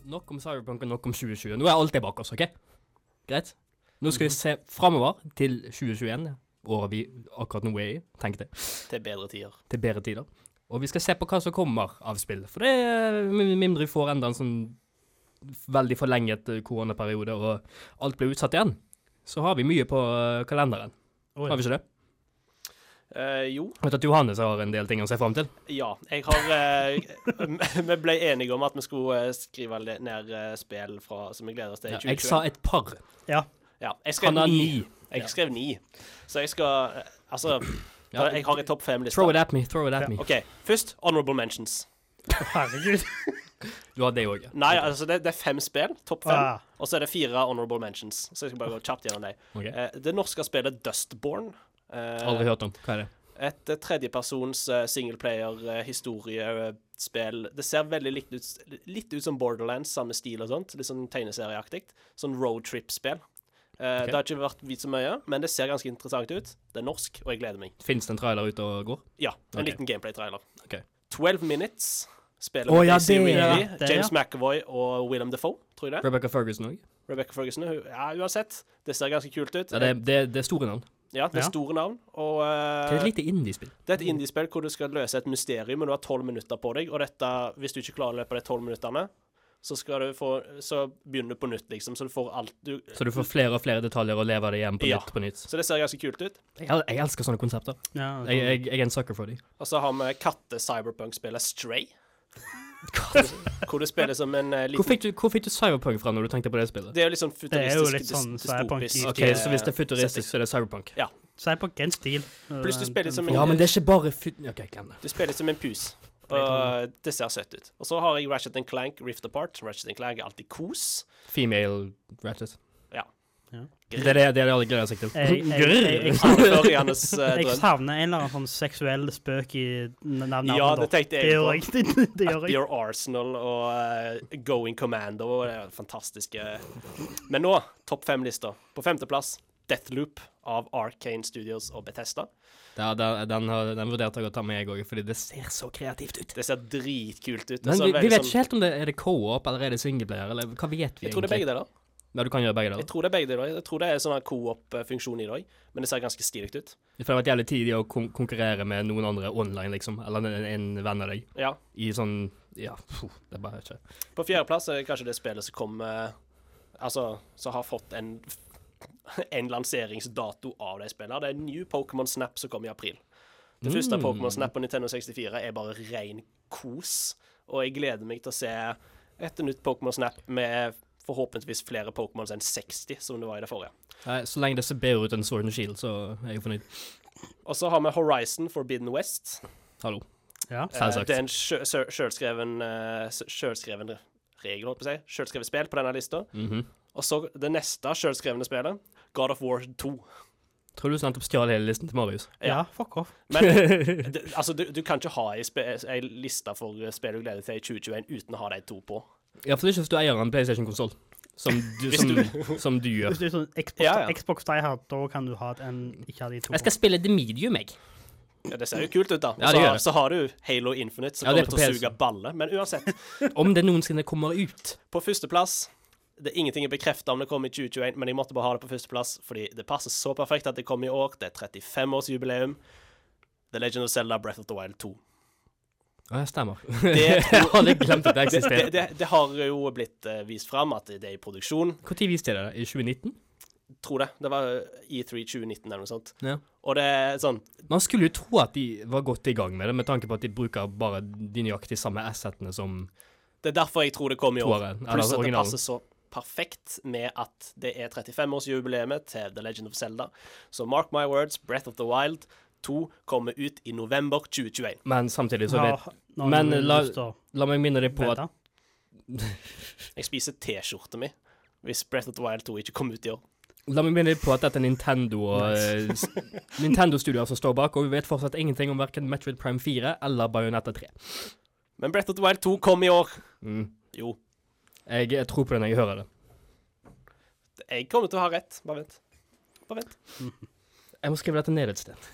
Speaker 2: Nok om Cyberpunk og nok om 2020. Nå er alt det bak oss, OK? Greit? Nå
Speaker 4: Mhm.
Speaker 2: skal vi se framover til 2021, året vi akkurat nå er i, tenkte jeg,
Speaker 6: Til bedre tider.
Speaker 2: til bedre tider. Og vi skal se på hva som kommer av spill. For det er mindre vi får enda en sånn veldig forlenget eh, koronaperiode, og alt blir utsatt igjen, så har vi mye på eh, kalenderen.
Speaker 4: Å,
Speaker 2: Har vi
Speaker 4: ja.
Speaker 2: ikke det?
Speaker 6: Eh, jo,
Speaker 2: Vet du at Johannes har en del ting å se fram til?
Speaker 6: ja. Jeg har eh, Vi ble enige om at vi skulle eh, skrive le- ned eh, spill fra, som vi gleder oss til i
Speaker 2: Ja, jeg sa
Speaker 6: 2020.
Speaker 2: et par.
Speaker 4: ja.
Speaker 6: Ja, jeg skrev
Speaker 2: Han har
Speaker 6: ni.
Speaker 2: ni.
Speaker 6: Jeg skrev ni. Så jeg skal eh, Altså,
Speaker 2: Ja,
Speaker 6: jeg har en topp
Speaker 2: Throw
Speaker 6: fem-liste.
Speaker 2: it at me. throw it at me.
Speaker 6: OK. Først honorable mentions.
Speaker 4: Herregud.
Speaker 2: Du har det òg, ja.
Speaker 6: Nei, altså det, det er fem spill, topp fem,
Speaker 4: Ah.
Speaker 6: og så er det fire honorable mentions. Så jeg skal bare gå kjapt gjennom dem.
Speaker 2: Ok.
Speaker 6: Eh, det norske spillet Dustborn. eh,
Speaker 2: Aldri hørt om. Hva er det?
Speaker 6: Et eh, tredjepersons eh, singleplayer-historiespill. Det ser veldig likt ut, litt ut som Borderlands, samme stil og sånt. Litt sånn tegneserieaktig. Sånn roadtrip-spill. Eh,
Speaker 2: Ok.
Speaker 6: Det har ikke vært vist så mye, men det ser ganske interessant ut. Det er norsk, og jeg gleder meg.
Speaker 2: Fins det en trailer ute og går?
Speaker 6: Ja, en
Speaker 2: Ok.
Speaker 6: liten gameplay-trailer.
Speaker 2: Ok.
Speaker 6: 12 Minutes. Spiller
Speaker 1: Å,
Speaker 6: med
Speaker 1: ja,
Speaker 6: Daisy
Speaker 1: det-
Speaker 6: Ridley,
Speaker 4: ja, det,
Speaker 6: James McAvoy og William Defoe, tror jeg det. er.
Speaker 2: Rebecca Ferguson òg?
Speaker 6: Rebecca Ferguson. hun- Ja, uansett. Det ser ganske kult ut.
Speaker 2: Ja, det, er- det, er- det er store navn.
Speaker 6: Ja, det er
Speaker 4: Ja.
Speaker 6: store navn. Og
Speaker 2: Det er
Speaker 6: eh,
Speaker 2: et lite indiespill.
Speaker 6: det er et indiespill hvor du skal løse et mysterium, men du har tolv minutter på deg. Og dette, hvis du ikke klarer å løpe de tolv minuttene, så, skal du få, så begynner du på nytt, liksom. Så du får alt du
Speaker 2: Så du får flere og flere detaljer og lever det igjen på
Speaker 6: Ja.
Speaker 2: nytt på nytt.
Speaker 6: Så det ser ganske kult ut.
Speaker 2: Jeg, el- jeg elsker sånne konsepter.
Speaker 4: Ja,
Speaker 2: Jeg, jeg, jeg er en sucker for dem.
Speaker 6: Og så har vi katte-cyberpunk-spillet Stray. Hvor- Hvor du spiller som en eh,
Speaker 2: Hvor
Speaker 6: liten
Speaker 2: fikk du, hvor fikk du Cyberpunk fra når du tenkte på det spillet?
Speaker 6: Det er jo litt sånn futuristisk.
Speaker 4: jo litt
Speaker 6: dys-
Speaker 4: sånn
Speaker 6: dystopisk,
Speaker 4: cyberpunk-aktig,
Speaker 2: OK,
Speaker 6: eh,
Speaker 2: så hvis det er futuristisk,
Speaker 6: setting.
Speaker 2: så er det Cyberpunk.
Speaker 4: Så jeg sånn- er på en stil. Eh,
Speaker 6: Pluss du spiller som en-
Speaker 2: Ja, men det er ikke bare fut... OK, glem det.
Speaker 6: Du spiller som en pus.
Speaker 2: Nei,
Speaker 6: Og det ser søtt ut. Og så har jeg Ratchet Clank Rift Apart. Ratchet Clank er alltid kos.
Speaker 2: Female Ratchet.
Speaker 6: Ja.
Speaker 4: Ja.
Speaker 2: Det er det, det, er det alle gleder seg til.
Speaker 4: Jeg- jeg- jeg- jeg-
Speaker 6: Avslørendes eh,
Speaker 4: Jeg
Speaker 6: drøm.
Speaker 4: savner en eller annen sånn seksuell spøk i n- navnet.
Speaker 6: Ja, det tenkte
Speaker 4: det
Speaker 6: jeg
Speaker 4: gjør
Speaker 6: på.
Speaker 4: jeg. Det, det gjør jeg.
Speaker 6: Your Arsenal og eh, Going Commando og det er fantastiske Men nå, topp fem-lista. På femteplass Deathloop av Arcane Studios og Bethesda.
Speaker 2: Ja, den, den, har- den vurderte jeg å ta med, jeg òg, fordi det ser så kreativt ut.
Speaker 6: Det ser dritkult ut. Det
Speaker 2: Men
Speaker 6: ser
Speaker 2: vi, vi
Speaker 6: veldig
Speaker 2: vet
Speaker 6: sånn-
Speaker 2: ikke helt om det er det co-op eller er det singleplayer, eller hva vet vi
Speaker 6: Jeg tror det er begge deler.
Speaker 2: Ja, du kan gjøre begge
Speaker 6: Jeg
Speaker 2: deler.
Speaker 6: tror det er begge deler. Jeg tror det er sånn her co-op-funksjon i dag, men det ser ganske stilig ut.
Speaker 2: For det har vært jævlig tidlig å kon konkurrere med noen andre online, liksom, eller en, en venn av deg,
Speaker 6: Ja.
Speaker 2: i sånn Ja, puh, det er bare ikke
Speaker 6: På fjerdeplass er det kanskje det spillet som kom eh, Altså, som har fått en en lanseringsdato av de spillene. Det er New Pokémon Snap som kom i april. Det første
Speaker 2: Mm.
Speaker 6: Pokémon Snap på Nintendo 64 er bare ren kos, og jeg gleder meg til å se et nytt Pokémon Snap med forhåpentligvis flere Pokémons enn 60, som det var i det forrige.
Speaker 2: Nei, Så lenge det ser bedre ut enn Sword and Shield, så er jeg fornøyd.
Speaker 6: Og så har vi Horizon Forbidden West.
Speaker 2: Hallo.
Speaker 4: Ja.
Speaker 6: Eh,
Speaker 2: Selvsagt.
Speaker 6: Det er en sjø- sjø- sjølskreven eh, s- Sjølskreven regel, holdt på å si. Sjølskrevet spill på denne lista.
Speaker 2: Mhm.
Speaker 6: Og så det neste sjølskrevne spillet, God of War 2.
Speaker 2: Tror du du nettopp stjal hele listen til Marius?
Speaker 4: ja, fuck off.
Speaker 6: Men det, altså, du, du kan ikke ha ei spe- ei liste for spill du gleder deg til i 2021 uten å ha de to på.
Speaker 2: Ja, for det er ikke hvis du eier en PlayStation-konsoll, som, du-
Speaker 6: Hvis
Speaker 2: som, som du gjør.
Speaker 4: Hvis du er sånn Xbox,
Speaker 6: Ja, ja.
Speaker 4: Xbox Die Hard, da kan du ha en ikke ha de to.
Speaker 2: Jeg skal spille The Medium, jeg.
Speaker 6: Ja, det ser jo kult ut, da. Og
Speaker 2: Ja, det
Speaker 6: så,
Speaker 2: gjør
Speaker 6: har-
Speaker 2: det.
Speaker 6: så har du Halo Infinite, som
Speaker 2: Ja, det er
Speaker 6: kommer til å
Speaker 2: på
Speaker 6: suge baller. Men uansett,
Speaker 2: Om det noensinne kommer ut.
Speaker 6: på førsteplass det er Ingenting er bekrefta om det kommer i 2021, men jeg måtte bare ha det på førsteplass fordi det passer så perfekt at det kommer i år. Det er 35-årsjubileum. The Legend of Zelda Breath of the Wild 2.
Speaker 2: Ja, jeg stemmer.
Speaker 6: Det,
Speaker 2: Jeg hadde glemt at det
Speaker 6: det, det,
Speaker 2: eksisterer.
Speaker 6: det, det har jo blitt eh, vist fram at det er i produksjon.
Speaker 2: Når viste de det? I 2019?
Speaker 6: Tror det. Det var E E3 2019 eller noe sånt.
Speaker 2: Ja.
Speaker 6: Og det er sånn
Speaker 2: Man skulle jo tro at de var godt i gang med det, med tanke på at de bruker bare de nøyaktig samme assetene som
Speaker 6: Det er derfor jeg tror det kom i år.
Speaker 2: toeren. Eller
Speaker 6: Pluss at det passer
Speaker 2: altså originalen.
Speaker 6: så perfekt med at det er 35-årsjubileet til The Legend of Zelda. Så mark my words, Breath of the Wild 2 kommer ut i november 2021.
Speaker 2: Men samtidig så
Speaker 4: Ja,
Speaker 2: vet
Speaker 4: nå har
Speaker 2: Men
Speaker 4: du
Speaker 2: la-
Speaker 4: lyst til å
Speaker 2: La meg minne deg på at
Speaker 4: vente.
Speaker 6: Jeg spiser T-skjorta mi hvis Breath of the Wild 2 ikke kom ut i år.
Speaker 2: La meg minne deg på at dette er Nintendo og eh, s- Nintendo-studioer som står bak, og vi vet fortsatt ingenting om hverken Metroid Prime 4 eller Bayonetta 3.
Speaker 6: Men Breath of the Wild 2 kom i år.
Speaker 2: Mm.
Speaker 6: Jo,
Speaker 2: Jeg, jeg tror på det når jeg hører det.
Speaker 6: jeg kommer til å ha rett. Bare vent. Bare vent.
Speaker 2: Jeg må skrive dette ned et sted.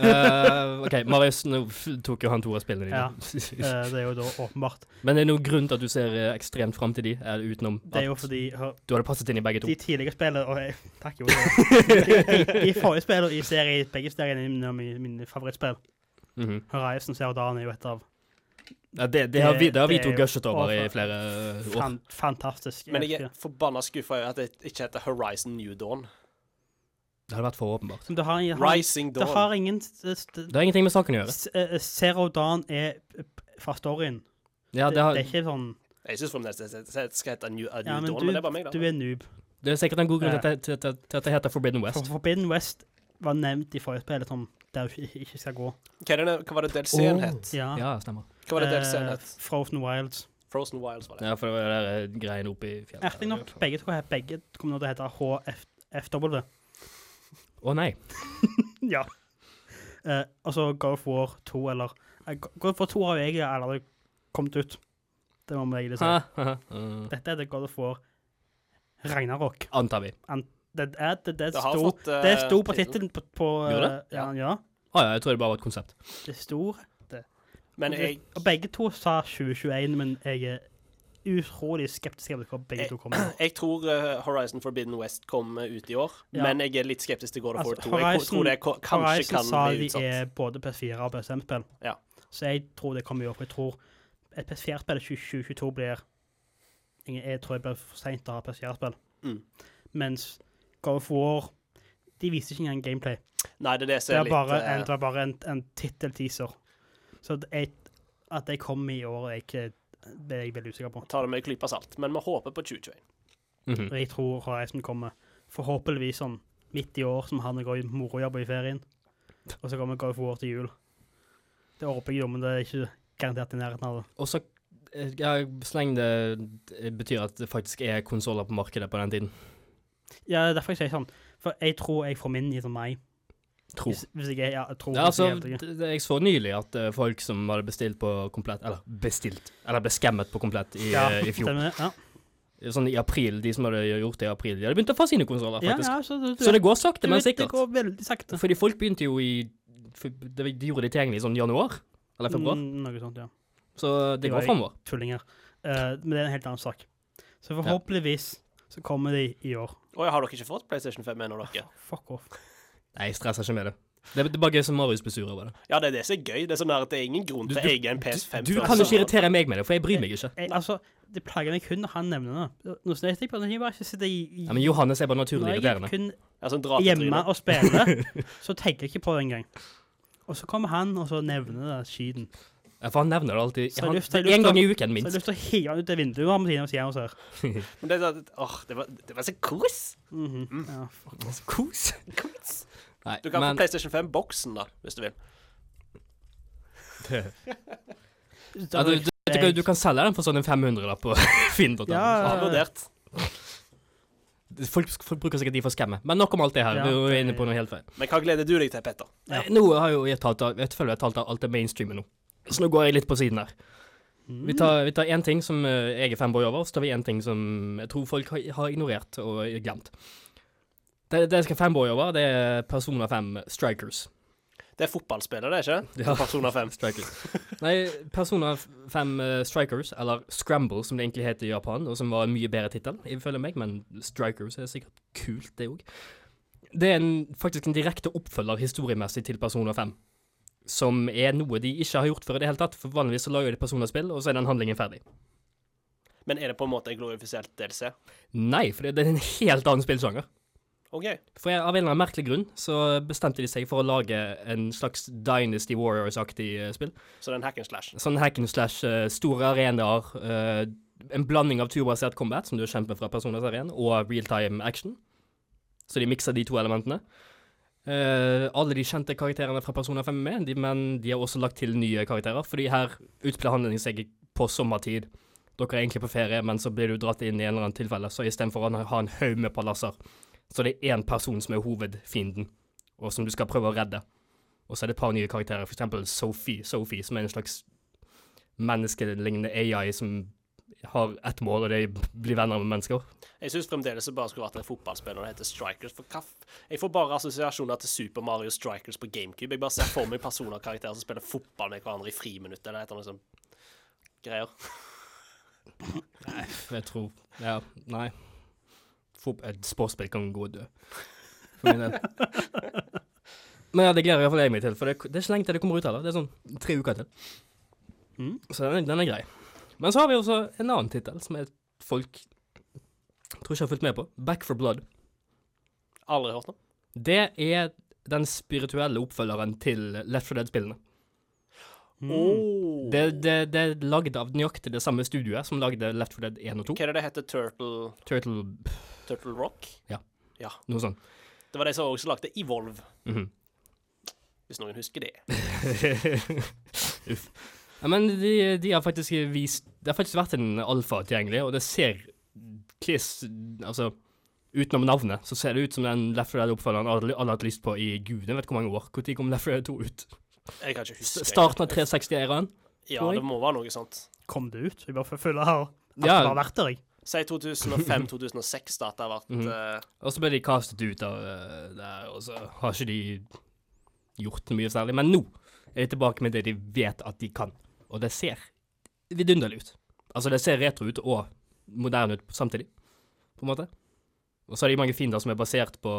Speaker 2: Eh, OK, Marius, nå f- tok jo han to av spillene dine.
Speaker 4: Eh, det er jo da åpenbart.
Speaker 2: Men er det noen grunn til at du ser eh, ekstremt fram til de, eh, utenom
Speaker 4: Det er jo
Speaker 2: at
Speaker 4: fordi hør,
Speaker 2: du hadde passet inn i begge to?
Speaker 4: de tidligere spillene og jeg, Takk, jo. De, de, de forrige spillene i serie, begge seriene er mine, mine- mine favorittspill.
Speaker 2: Mhm.
Speaker 4: Horizon Zero Dawn er jo et av
Speaker 2: ja, det, det, har vi, det har vi
Speaker 4: Det-
Speaker 2: to
Speaker 4: det er jo
Speaker 2: gushet over i
Speaker 4: overfor-
Speaker 2: flere eh, år.
Speaker 4: fan, fantastisk.
Speaker 6: Men jeg er forbanna skuffa over at det ikke heter Horizon New Dawn.
Speaker 2: Det hadde vært for åpenbart.
Speaker 4: Som det har, det har,
Speaker 6: Rising
Speaker 4: det
Speaker 6: Dawn.
Speaker 4: har ingen s- s-
Speaker 2: Det har ingenting med saken å gjøre.
Speaker 4: S- eh, Zero Dawn er p- fra storyen.
Speaker 2: Ja,
Speaker 4: det,
Speaker 2: det, har,
Speaker 4: det er ikke sånn
Speaker 6: Jeg syns fremdeles det det skal hete New, A New
Speaker 4: Ja, men
Speaker 6: Dawn,
Speaker 4: du,
Speaker 6: men det er bare meg,
Speaker 4: du
Speaker 6: da.
Speaker 4: er noob.
Speaker 2: det er sikkert en god grunn til at det- til- til- til at det heter Forbidden
Speaker 4: For
Speaker 2: West.
Speaker 4: Forbidden West var nevnt i forrige spill som der du ikke, ikke skal gå.
Speaker 6: Hva, er det, hva var det DLC-en
Speaker 2: Åh.
Speaker 6: het?
Speaker 4: Ja.
Speaker 2: Ja, stemmer.
Speaker 6: Hva var det DLC-en
Speaker 4: eh,
Speaker 6: het?
Speaker 4: Frozen Wilds.
Speaker 6: Frozen Wilds var det.
Speaker 2: Ja, for det var den der eh, greien oppe i fjellet.
Speaker 4: Erting nok, begge, to- begge kommer nå til å hete HFW.
Speaker 2: Å nei.
Speaker 4: Ja. Eh, altså God of War 2, eller eh, God of War 2 har jo egentlig allerede kommet ut. Det må vi egentlig si.
Speaker 2: Mm.
Speaker 4: Dette er det God of War Ragnarok.
Speaker 2: Antar vi.
Speaker 4: Det, er, det, det,
Speaker 6: Det har
Speaker 4: sto,
Speaker 6: fått eh,
Speaker 4: det sto på
Speaker 6: tittelen.
Speaker 4: tittelen på, på
Speaker 2: Gjorde
Speaker 4: eh, ja, ja,
Speaker 2: Å ja, jeg tror det bare var et konsept.
Speaker 4: det sto
Speaker 6: Men jeg,
Speaker 4: Og begge to sa 2021, men jeg er utrolig skeptisk til hva begge to kommer med.
Speaker 6: jeg tror eh, Horizon Forbidden West kommer ut i år,
Speaker 4: Ja.
Speaker 6: men jeg er litt skeptisk til God of War
Speaker 4: Altså,
Speaker 6: 2. Jeg ko-
Speaker 4: Horizon-
Speaker 6: tror det ko- kanskje
Speaker 4: Horizon sa
Speaker 6: kan bli
Speaker 4: de
Speaker 6: utsatt.
Speaker 4: er både PS4 og PS5-spill,
Speaker 6: Ja.
Speaker 4: så jeg tror det kommer i år. for Jeg tror et PS4-spill i 2022 blir jeg, jeg tror det blir for seint å ha PS4-spill.
Speaker 6: Mm.
Speaker 4: Mens God of War De viser ikke engang gameplay.
Speaker 6: Nei, det er det som
Speaker 4: Det
Speaker 6: er
Speaker 4: er
Speaker 6: litt
Speaker 4: bare
Speaker 6: eh,
Speaker 4: en, det er bare en, en tittelteaser. Så at jeg, at det kommer i år, er jeg ikke det er jeg veldig usikker på.
Speaker 6: Ta det med en klype salt. Men vi håper på 2021.
Speaker 2: Mhm.
Speaker 4: Og jeg tror Horizon kommer forhåpentligvis sånn midt i år, som han går i morojobb i ferien. Og så kommer God of War til jul. Det håper jeg jo, men det er ikke garantert i nærheten av det.
Speaker 2: Og så eh, ja, sleng det det eh, betyr at det faktisk er konsoller på markedet på den tiden.
Speaker 4: Ja, det er derfor jeg sier sånn. For jeg tror jeg får min i sånn mai.
Speaker 2: Tro.
Speaker 4: Hvis, hvis jeg er ja, jeg tror
Speaker 2: Ja, altså,
Speaker 4: hvis jeg er helt enig.
Speaker 2: det- det- jeg så nylig at eh, folk som hadde bestilt på komplett Eller bestilt, eller ble skammet på komplett i,
Speaker 4: ja,
Speaker 2: eh, i fjor.
Speaker 4: stemmer det. Ja,
Speaker 2: Sånn i april, De som hadde gjort det i april, de hadde begynt å få sine konsoller,
Speaker 4: ja,
Speaker 2: faktisk.
Speaker 4: ja så, du,
Speaker 2: Så det går
Speaker 4: du
Speaker 2: sakte, men
Speaker 4: vet,
Speaker 2: sikkert.
Speaker 4: Det går veldig sakte.
Speaker 2: Fordi folk begynte jo i for De de gjorde det tilgjengelig i sånn januar eller februar.
Speaker 4: Mm, noe sånt, ja.
Speaker 2: Så det
Speaker 4: Det
Speaker 2: går
Speaker 4: var-
Speaker 2: framover.
Speaker 4: Tullinger. Eh, men det er en helt annen sak. Så forhåpentligvis så kommer de i år.
Speaker 6: Å ja, har dere ikke fått PlayStation 5 ennå, dere?
Speaker 4: Fuck off.
Speaker 2: Nei, jeg stresser ikke med det. Det er det er bare gøy som Marius blir sur over det.
Speaker 6: Ja, det er det som er gøy. Det er sånn der at det er ingen grunn
Speaker 2: Du-
Speaker 6: til å
Speaker 2: du-
Speaker 6: eie en PS5.
Speaker 2: Du
Speaker 6: før
Speaker 2: kan jo ikke
Speaker 6: sommeren.
Speaker 2: irritere meg med det, for jeg bryr meg ikke.
Speaker 4: Jeg, altså, det plager meg kun når han nevner det. Nå snakker jeg på, når jeg bare ikke sitter i, i
Speaker 2: Ja, men Johannes er bare naturlig
Speaker 4: Når jeg er
Speaker 2: irriterende.
Speaker 4: kun
Speaker 6: Ja, sånn dra til
Speaker 4: hjemme
Speaker 6: trynet.
Speaker 4: og spiller, så tenker jeg ikke på det engang. Og så kommer han og så nevner det skiten.
Speaker 2: Ja, for han nevner det alltid.
Speaker 4: Så har
Speaker 2: Han,
Speaker 4: jeg lyst- så har jeg
Speaker 2: en
Speaker 4: lyst
Speaker 2: gang i
Speaker 4: til-
Speaker 2: uken,
Speaker 4: Så jeg har
Speaker 2: minst.
Speaker 4: lyst til å hive han ut det vinduet og ha med siden av siden hos her.
Speaker 6: Men det, er sånn at- åh, det, var, det var så kos!
Speaker 4: Mhm. Ja, fuck.
Speaker 2: Kos.
Speaker 6: kos.
Speaker 2: Nei,
Speaker 6: Du kan
Speaker 2: men
Speaker 6: få PlayStation 5-boksen, da, hvis du vil.
Speaker 2: ja, du, du, vet du, hva, du kan selge den for sånn en 500 da, på Finn.no.
Speaker 4: Ja,
Speaker 6: Har vurdert.
Speaker 2: Folk, folk bruker sikkert de for å skamme. Men nok om alt det her.
Speaker 4: Ja,
Speaker 2: vi er jo
Speaker 4: det-
Speaker 2: inne på noe helt feil.
Speaker 6: Men hva gleder du deg til, Petter?
Speaker 4: Ja.
Speaker 2: Eh, Nå har jo jeg talt av, jeg føler jeg har talt av alt det mainstreamet nå. Så nå går jeg litt på siden her. Vi tar, vi tar én ting som eh, jeg er fanboy over, så tar vi én ting som jeg tror folk har, har ignorert og glemt. Det, det jeg skal fanboy over, det er Persona 5 Strikers.
Speaker 6: Det er fotballspillet, det, ikke?
Speaker 2: Ja.
Speaker 6: Persona 5.
Speaker 2: Strikers. Nei, Persona 5 eh, Strikers, eller Scramble som det egentlig heter i Japan, og som var en mye bedre tittel, ifølge meg, men Strikers er sikkert kult, det òg. Det er en, faktisk en direkte oppfølger historiemessig til Persona 5. Som er noe de ikke har gjort før i det hele tatt, for vanligvis så lager de Persona-spill, og så er den handlingen ferdig.
Speaker 6: Men er det på en måte en glorifisert DLC?
Speaker 2: Nei, for det, det er en helt annen spillsjanger.
Speaker 6: OK.
Speaker 2: For jeg, av en eller annen merkelig grunn så bestemte de seg for å lage en slags Dynasty Warriors-aktig eh, spill.
Speaker 6: Så det er en hack and slash.
Speaker 2: Sånn hack and slash, eh, store arenaer, eh, en blanding av turbasert combat, som du kjemper fra Persona-serien, og real-time action. Så de mikser de to elementene. Eh, alle de kjente karakterene fra Persona 5 er med, de, men de har også lagt til nye karakterer, fordi her utspiller handlingen seg på sommertid. Dere er egentlig på ferie, men så blir du dratt inn i en eller annen tilfelle, så istedenfor å ha en haug med palasser, så det er én person som er hovedfienden, og som du skal prøve å redde. Og så er det et par nye karakterer, f.eks. Sophie, Sophie, som er en slags menneskelignende AI som har ett mål, og det er å bli venner med mennesker.
Speaker 6: Jeg syns fremdeles det bare skulle vært en fotballspill når det heter Strikers. For kaff. Jeg får bare assosiasjoner til Super Mario Strikers på GameCube. Jeg bare ser for meg personer og karakterer som spiller fotball med hverandre i friminuttet eller et eller annet sånt greier.
Speaker 2: Jeg tror Ja, nei. Fot- Et sportsspill kan gå og dø. For min del. Men ja, det gleder iallfall jeg meg til, for det, det er ikke lenge til det kommer ut heller. Det er sånn tre uker til.
Speaker 4: Mhm.
Speaker 2: Så den er, den er grei. Men så har vi også en annen tittel som er folk tror ikke har fulgt med på. Back for Blood.
Speaker 6: Aldri hørt noe.
Speaker 2: Det er den spirituelle oppfølgeren til Left for Dead-spillene.
Speaker 4: Mm.
Speaker 6: Åh.
Speaker 2: Det, det, det er lagd av nøyaktig det samme studioet som lagde Left 4 Dead 1 og 2.
Speaker 6: Hva er det det heter? Turtle,
Speaker 2: Turtle pff,
Speaker 6: Turtle Rock?
Speaker 2: noe sånt.
Speaker 6: Det var de som også lagde Evolve,
Speaker 2: Mhm.
Speaker 6: hvis noen husker det.
Speaker 2: Uff. Ja, men de, de har faktisk vist Det har faktisk vært en alfa tilgjengelig, og det ser kliss Altså, utenom navnet, så ser det ut som den Left 4 Dead-oppfølgeren alle, alle har hatt lyst på i gud, jeg vet ikke hvor mange år. Når kom Left 4 Dead 2 ut?
Speaker 6: Jeg kan ikke huske.
Speaker 2: S- Starten av 360-æraen?
Speaker 6: Ja, det må være noe sånt.
Speaker 4: Kom det ut? Jeg bare føler her at
Speaker 2: Ja.
Speaker 4: det har vært der, jeg.
Speaker 6: Si 2005-2006, da, at det har vært
Speaker 2: Mhm.
Speaker 6: eh,
Speaker 2: Og så ble de castet ut av eh, der, og så har ikke de gjort noe mye særlig. Men nå er de tilbake med det de vet at de kan, og det ser vidunderlig ut. Altså, det ser retro ut og moderne ut samtidig, på en måte. Og så har de mange fiender som er basert på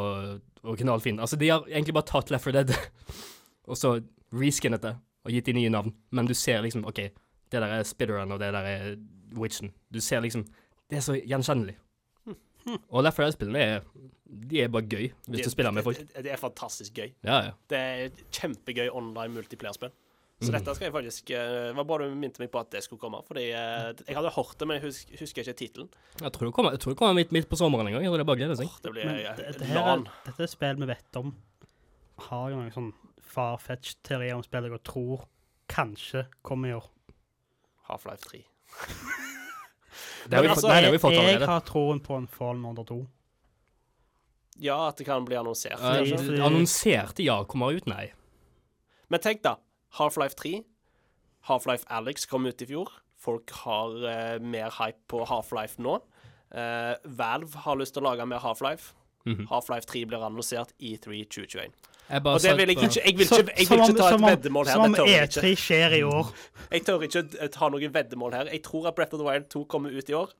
Speaker 2: originalfiender. Altså, de har egentlig bare tatt Left 4 Dead og så reskinnet det og gitt de nye navn. Men du ser liksom, OK, det der er Spitteren, og det der er Witchen. Du ser liksom Det er så gjenkjennelig. Og Left 4 Dead-spillene er De er bare gøy, hvis
Speaker 6: det-
Speaker 2: du spiller med folk.
Speaker 6: Det, det- det er fantastisk gøy.
Speaker 2: Ja, ja.
Speaker 6: Det er et kjempegøy online multiplierspill. Så
Speaker 2: Mhm.
Speaker 6: dette skal jeg faktisk eh, var bra du minte meg på at det skulle komme. Fordi eh,
Speaker 2: Mhm.
Speaker 6: jeg hadde hørt det, men jeg husker, husker ikke tittelen.
Speaker 2: Jeg tror det kommer, jeg tror det kommer midt, midt på sommeren en gang. Jeg tror det bare gleder seg.
Speaker 6: Åh, Det blir
Speaker 4: Men
Speaker 6: eh,
Speaker 4: det, det her,
Speaker 6: LAN.
Speaker 4: er- dette er spill vi vet om. Har jo noen sånn farfetch-teorier om spill jeg tror kanskje kommer i år.
Speaker 6: Half-Life 3.
Speaker 2: Det har vi,
Speaker 6: Men
Speaker 2: fått-
Speaker 6: altså,
Speaker 2: nei, det har vi fått
Speaker 4: jeg, jeg
Speaker 2: allerede.
Speaker 4: har troen på en Fallen Order 2.
Speaker 6: Ja, at det kan bli annonsert.
Speaker 2: Eh,
Speaker 6: kanskje.
Speaker 4: fordi-
Speaker 2: annonserte ja kommer ut, nei.
Speaker 6: Men tenk da, Half-Life 3, Half-Life Alex kom ut i fjor. Folk har eh, mer hype på Half-Life nå. Eh, Valve har lyst til å lage mer Half-Life.
Speaker 2: Mhm.
Speaker 6: Half-Life 3 blir annonsert i 3 2021.
Speaker 3: Jeg bare
Speaker 6: Og det
Speaker 3: satt
Speaker 6: vil jeg
Speaker 3: på-
Speaker 6: ikke Jeg vil
Speaker 4: Så-
Speaker 6: ikke, jeg vil
Speaker 4: som
Speaker 6: ikke
Speaker 4: om-
Speaker 6: ta et
Speaker 4: som om-
Speaker 6: veddemål her.
Speaker 4: Som om
Speaker 6: Det tør jeg ikke.
Speaker 4: E3 skjer i år.
Speaker 2: Mm.
Speaker 6: Jeg tør ikke eh, ta noe veddemål her. Jeg tror at Breath of the Wild 2 kommer ut i år,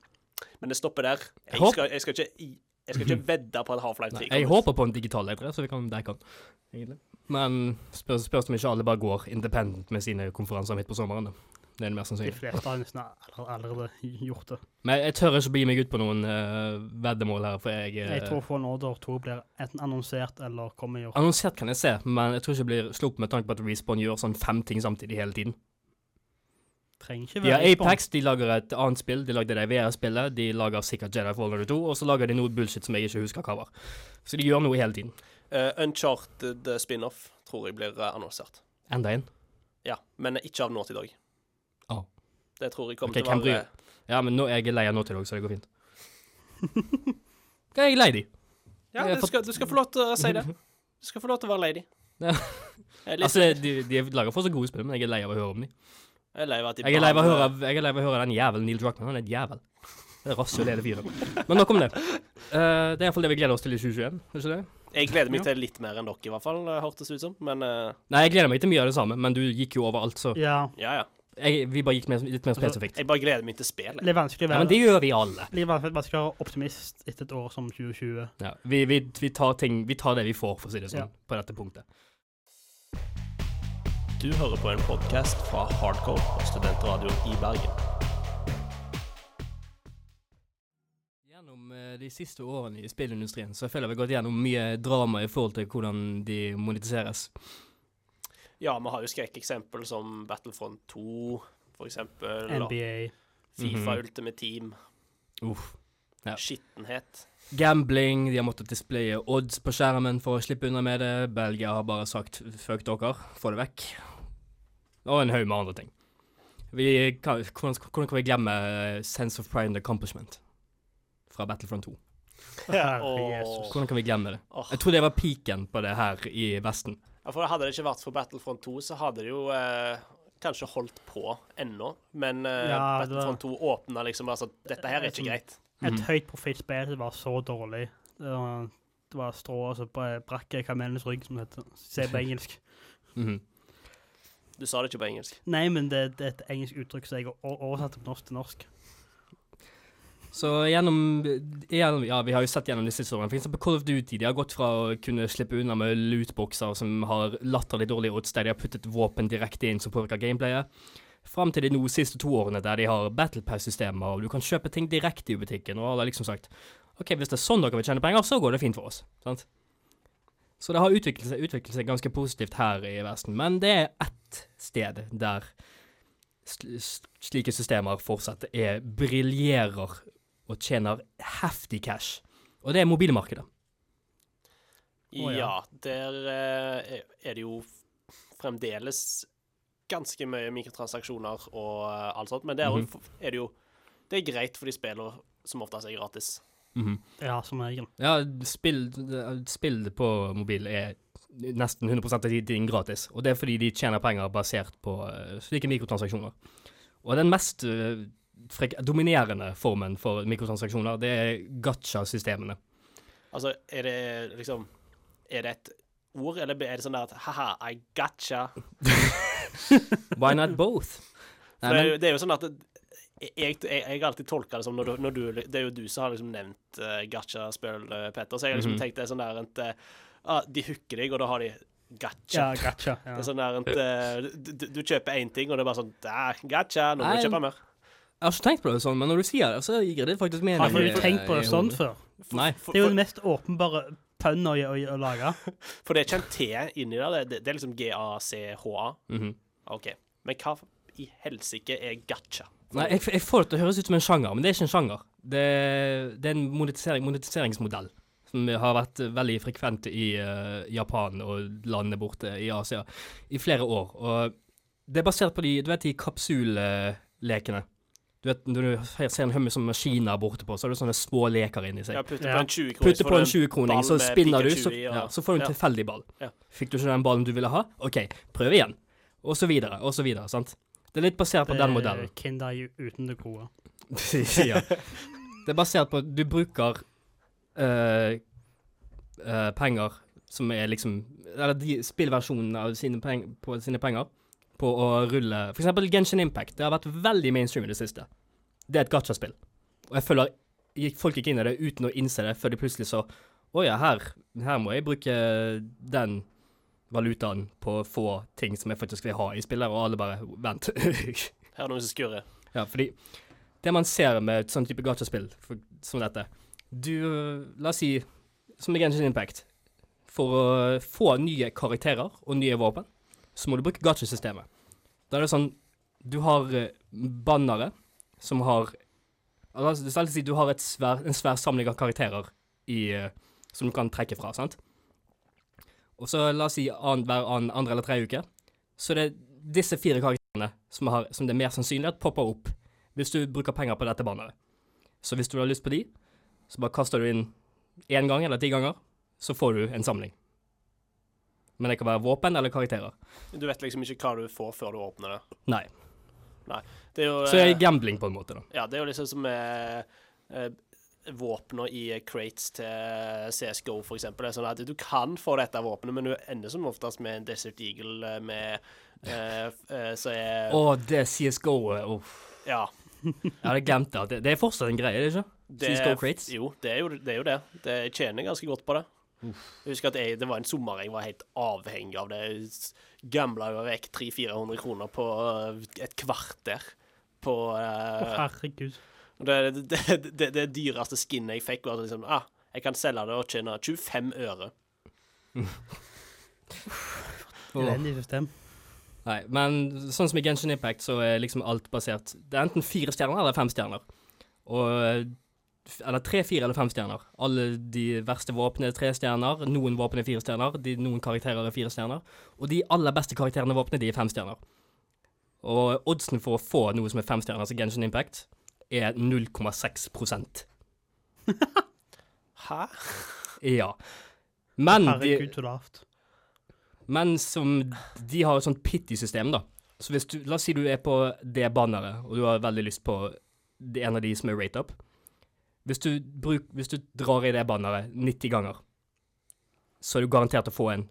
Speaker 6: men det stopper der. Jeg
Speaker 2: Håp-
Speaker 6: skal, jeg skal, ikke, i- jeg skal ikke vedde på at Half-Life 3
Speaker 2: nei. Jeg
Speaker 6: kommer ut.
Speaker 2: håper på en digital E3, så vi kan dekke den. Egentlig. Men spørs, spørs om ikke alle bare går independent med sine konferanser midt på sommeren. da. Det er det mer
Speaker 4: De
Speaker 2: sannsynlig.
Speaker 4: fleste har nesten all- allerede gjort det.
Speaker 2: Men jeg tør ikke begi meg ut på noen eh, veddemål her, for jeg, eh,
Speaker 4: Jeg tror Fallen Order 2 blir enten annonsert eller kommer i år.
Speaker 2: Annonsert kan jeg se, men jeg tror ikke jeg blir sluppet med tanke på at Respawn gjør sånn fem ting samtidig hele tiden.
Speaker 4: Trenger ikke
Speaker 2: De har
Speaker 4: være i
Speaker 2: Apex, de lager et annet spill, de lagde det VR-spillet, de lager sikkert Jedi Fallen 2, og så lager de noe bullshit som jeg ikke husker hva var. Så de gjør noe hele tiden.
Speaker 6: Eh, Uncharted eh, spin-off tror jeg blir eh, annonsert.
Speaker 2: Enda en.
Speaker 6: Ja, men ikke av nå til dag.
Speaker 2: Å.
Speaker 6: Det tror jeg kommer
Speaker 2: Ok,
Speaker 6: til
Speaker 2: hvem
Speaker 6: å være
Speaker 2: Ja, men nå er jeg lei av nå til dag, så det går fint. Jeg er lei de.
Speaker 6: Ja,
Speaker 2: Jeg har
Speaker 6: du skal, du skal få lov til å si det. Du skal få lov til å være lady.
Speaker 2: Ja.
Speaker 6: Jeg er litt-
Speaker 2: Altså, de, de lager fortsatt gode spill, men jeg er lei av å høre om de.
Speaker 6: jeg er lei av at de
Speaker 2: Jeg er lei av å høre,
Speaker 6: behandler-
Speaker 2: jeg er lei av å høre den jævelen Neil Druckmann. Han er et jævel. Det er rasshøl hele fyren. Men nok om det. Eh, det er iallfall det vi gleder oss til i 2021, er det ikke det?
Speaker 6: Jeg gleder meg til litt mer enn dere, i hvert fall, eh, hørtes det ut som. Men eh,
Speaker 2: Nei, jeg gleder meg til mye av det samme, men du gikk jo overalt, så
Speaker 4: Ja.
Speaker 6: ja, ja.
Speaker 2: jeg, vi bare gikk mer, litt mer spesifikt.
Speaker 6: Jeg bare gleder meg til spillet.
Speaker 4: Det er vanskelig å
Speaker 2: Ja, men
Speaker 4: være
Speaker 2: det gjør vi alle.
Speaker 4: det er vanskelig vanskelig å være optimist etter et år som 2020.
Speaker 2: Ja, vi, vi, vi, tar ting, vi tar det vi får, for å si det sånn,
Speaker 4: Ja.
Speaker 2: på dette punktet.
Speaker 6: Du hører på en podkast fra Hardcore og studentradioen i Bergen.
Speaker 2: Gjennom eh, de siste årene i spillindustrien så føler jeg vi har gått gjennom mye drama i forhold til hvordan de monetiseres.
Speaker 6: Ja, vi har jo skrekkeksempel som Battlefront 2, for eksempel. og
Speaker 4: NBA.
Speaker 6: Fifa
Speaker 2: Mhm.
Speaker 6: Ultimate Team.
Speaker 2: Uff. Ja.
Speaker 6: Skittenhet.
Speaker 2: Gambling, de har måttet displaye odds på skjermen for å slippe unna med det. Belgia har bare sagt 'fuck dere, få det vekk'. Og en haug med andre ting. Vi kan, hvordan, hvordan kan vi glemme eh, 'sense of pride and accomplishment' fra Battlefront 2?
Speaker 4: Herre
Speaker 6: Åh.
Speaker 4: Jesus.
Speaker 2: Hvordan kan vi glemme det?
Speaker 6: Åh.
Speaker 2: Jeg tror det var piken på det her i Vesten.
Speaker 6: Ja, for Hadde det ikke vært for Battlefront 2, så hadde det jo eh, kanskje holdt på ennå. Men eh,
Speaker 4: Ja, det-
Speaker 6: Battlefront 2 åpna liksom altså, Dette her er ikke greit.
Speaker 4: Et
Speaker 2: Mhm.
Speaker 4: høyt profilspill det var så dårlig. Det var, det var strået som bare brakk i kamelens rygg, som det heter. Se på engelsk.
Speaker 2: Mhm.
Speaker 6: Du sa det ikke på engelsk.
Speaker 4: Nei, men det, det er et engelsk uttrykk som jeg har o- oversatt fra norsk til norsk.
Speaker 2: Så gjennom, gjennom Ja, vi har jo sett gjennom de siste årene. For eksempel Call of Duty. De har gått fra å kunne slippe unna med lootboxer som har latterlig dårlige odds, der de har puttet våpen direkte inn som påvirker gameplayet, fram til de nå siste to årene der de har battlepass-systemer, og du kan kjøpe ting direkte i butikken, og alle har liksom sagt OK, hvis det er sånn dere vil tjene penger, så går det fint for oss. Sant? Så det har utviklet seg, utviklet seg ganske positivt her i Vesten, men det er ett sted der sl sl- slike systemer fortsatt er briljerer og tjener heftig cash. Og det er mobilmarkedet.
Speaker 4: Å, ja.
Speaker 6: ja. der eh, er det jo fremdeles ganske mye mikrotransaksjoner og eh, alt sånt, men der
Speaker 4: Mhm.
Speaker 6: òg er det jo Det er greit for de spiller som oftest er gratis.
Speaker 2: Mhm.
Speaker 4: Ja, som regel.
Speaker 2: Ja, spill, spill på mobil er nesten 100 av de ting gratis. Og det er fordi de tjener penger basert på eh, slike mikrotransaksjoner. Og den mest eh, frek dominerende formen for mikrotransaksjoner, det er gacha-systemene.
Speaker 6: Altså, er det liksom Er det et ord, eller er det sånn der at haha, I gotcha?
Speaker 2: Why not both?
Speaker 6: For det, er jo, det er jo sånn at det- jeg, jeg, jeg har alltid tolka det som når du, når du Det er jo du som har liksom nevnt uh, gacha-spill, eh, Petter, så jeg har liksom
Speaker 2: Mhm.
Speaker 6: tenkt det er sånn der at eh, ah, de hooker deg, og da har de gacha.
Speaker 4: Ja, gotcha.
Speaker 6: Det er
Speaker 4: Ja.
Speaker 6: sånn der at eh, du, du- du kjøper én ting, og det er bare sånn der, gacha, nå må du
Speaker 2: Nei,
Speaker 6: kjøpe mer.
Speaker 2: Jeg har ikke tenkt på det sånn, men når du sier det, så gir det faktisk mening.
Speaker 4: Har
Speaker 2: i-
Speaker 4: ikke du tenkt på det
Speaker 2: i
Speaker 4: sånn
Speaker 2: hodet.
Speaker 4: før?
Speaker 2: Nei.
Speaker 6: For,
Speaker 4: Det er jo
Speaker 6: for,
Speaker 4: den mest åpenbare pønnen å, å, å lage.
Speaker 6: for det er ikke en T inni der, det, det, det er liksom G-A-C-H-A.
Speaker 2: Mhm.
Speaker 6: OK. Men hva i helsike er gacha?
Speaker 2: Nei, jeg, jeg får det til å høres ut som en sjanger, men det er ikke en sjanger. Det, det er en monetisering, monetiseringsmodell som har vært eh, veldig frekvent i eh, Japan og landene borte i Asia i flere år. Og det er basert på de, du vet, de kapsullekene. Du vet, når du ser en hømme som maskiner borte på, så har du sånne små leker inni seg.
Speaker 6: Ja, putte
Speaker 4: Ja.
Speaker 6: på en 20 kroner,
Speaker 2: Putter på en 20-kroning, så spinner du, så, ja, så får du en
Speaker 6: ja.
Speaker 2: tilfeldig ball.
Speaker 6: Ja.
Speaker 2: Fikk du ikke den ballen du ville ha? OK, prøv igjen. Og så videre, og så videre. sant? Det er litt basert på
Speaker 4: Det
Speaker 2: den
Speaker 4: er
Speaker 2: modellen.
Speaker 4: Kinder ju- uten det gode.
Speaker 2: ja. Det er basert på at du bruker eh, eh, penger som er liksom Eller de spillversjonen av sine, peng, på sine penger på å rulle For eksempel Genshin Impact. Det har vært veldig mainstream i det siste. Det er et gacha-spill. Og jeg føler gikk- folk gikk inn i det uten å innse det, før de plutselig så Å ja, her, her må jeg bruke den valutaen på å få ting som jeg faktisk vil ha i spillet, og alle bare Vent.
Speaker 6: Her er noen som skurrer.
Speaker 2: Ja, fordi det man ser med et sånn type gachaspill for- som dette Du, la oss si, som i Genshin Impact For å få nye karakterer og nye våpen, så må du bruke gachasystemet. Da er det sånn Du har eh, bannere som har Altså, det skal si du har et svær, en svær samling av karakterer i, eh, som du kan trekke fra, sant? Og så la oss si an, hver an, andre eller tredje uke, så det er disse fire karakterene som, har, som det er mer sannsynlig at popper opp hvis du bruker penger på dette banneret. Så hvis du har lyst på de, så bare kaster du inn én gang eller ti ganger, så får du en samling. Men det kan være våpen eller karakterer.
Speaker 6: Du vet liksom ikke hva du får før du åpner det.
Speaker 2: Nei.
Speaker 6: Det er jo,
Speaker 2: Så det
Speaker 6: eh,
Speaker 2: er gambling på en måte, da.
Speaker 6: ja, det er jo liksom som eh, eh, våpner i eh, crates til CSGO, for eksempel. Det er sånn at du kan få dette våpenet, men du ender som oftest med en Desert Eagle eh, med eh, f- eh, Så er
Speaker 2: Å, det CSGO-et. Uff.
Speaker 6: Ja.
Speaker 2: Jeg hadde glemt det. Det- Det er fortsatt en greie, er det ikke?
Speaker 6: Det,
Speaker 2: CSGO crates?
Speaker 6: Jo, det er jo det. Er jo det. det jeg tjener ganske godt på det. Jeg husker at jeg, det var en sommer jeg var helt avhengig av det. Jeg s- Gambla jo vekk 300-400 kroner på øh, et kvarter. På
Speaker 2: Eh.
Speaker 4: Å,
Speaker 6: øh,
Speaker 4: herregud.
Speaker 6: det, det, det, det dyreste skinnet jeg fikk, var liksom ah, Jeg kan selge det og tjene 25 øre.
Speaker 2: Åh.
Speaker 4: Elendig system.
Speaker 2: Nei, men sånn som i Genshin Impact, så er liksom alt basert Det er enten fire stjerner eller fem stjerner. Og Eller tre, fire eller fem stjerner. Alle de verste våpnene er tre stjerner. Noen våpen er fire stjerner. De, noen karakterer er fire stjerner. Og de aller beste karakterene og våpnene, de er fem stjerner. Og oddsen for å få noe som er fem stjerner, altså Genshin Impact, er 0,6
Speaker 6: Hæ?
Speaker 2: Ja. Men de,
Speaker 4: Herregud, så lavt.
Speaker 2: Men som de har et sånt pity-system, da. Så hvis du, la oss si du er på det banneret, og du har veldig lyst på det en av de som er rate up. Hvis du, bruk, hvis du drar i det banneret 90 ganger, så er du garantert å få en.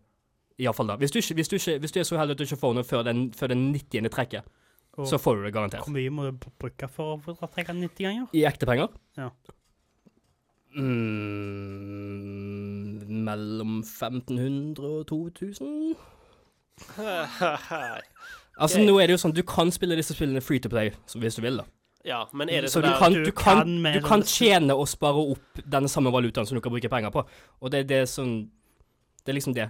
Speaker 2: Iallfall da. Hvis du, ikke, hvis, du ikke, hvis du er så heldig at du ikke får noe før den, før den 90. trekket,
Speaker 4: Og
Speaker 2: så får du det garantert.
Speaker 4: hvor mye må du b- bruke for å få trekke 90 ganger?
Speaker 2: I ekte penger?
Speaker 4: Ja.
Speaker 2: Mm, mellom 1500 og 2000? Altså,
Speaker 6: Ok.
Speaker 2: nå er det jo sånn, du kan spille disse spillene free to play, så hvis du vil, da.
Speaker 6: ja, men er det
Speaker 2: Så
Speaker 6: sånn
Speaker 2: du
Speaker 6: der
Speaker 2: kan,
Speaker 4: du
Speaker 2: du, kan,
Speaker 4: kan med
Speaker 2: du kan
Speaker 4: sånn-
Speaker 2: tjene og spare opp den samme valutaen som du kan bruke penger på. Og det, det er sånn Det er liksom det.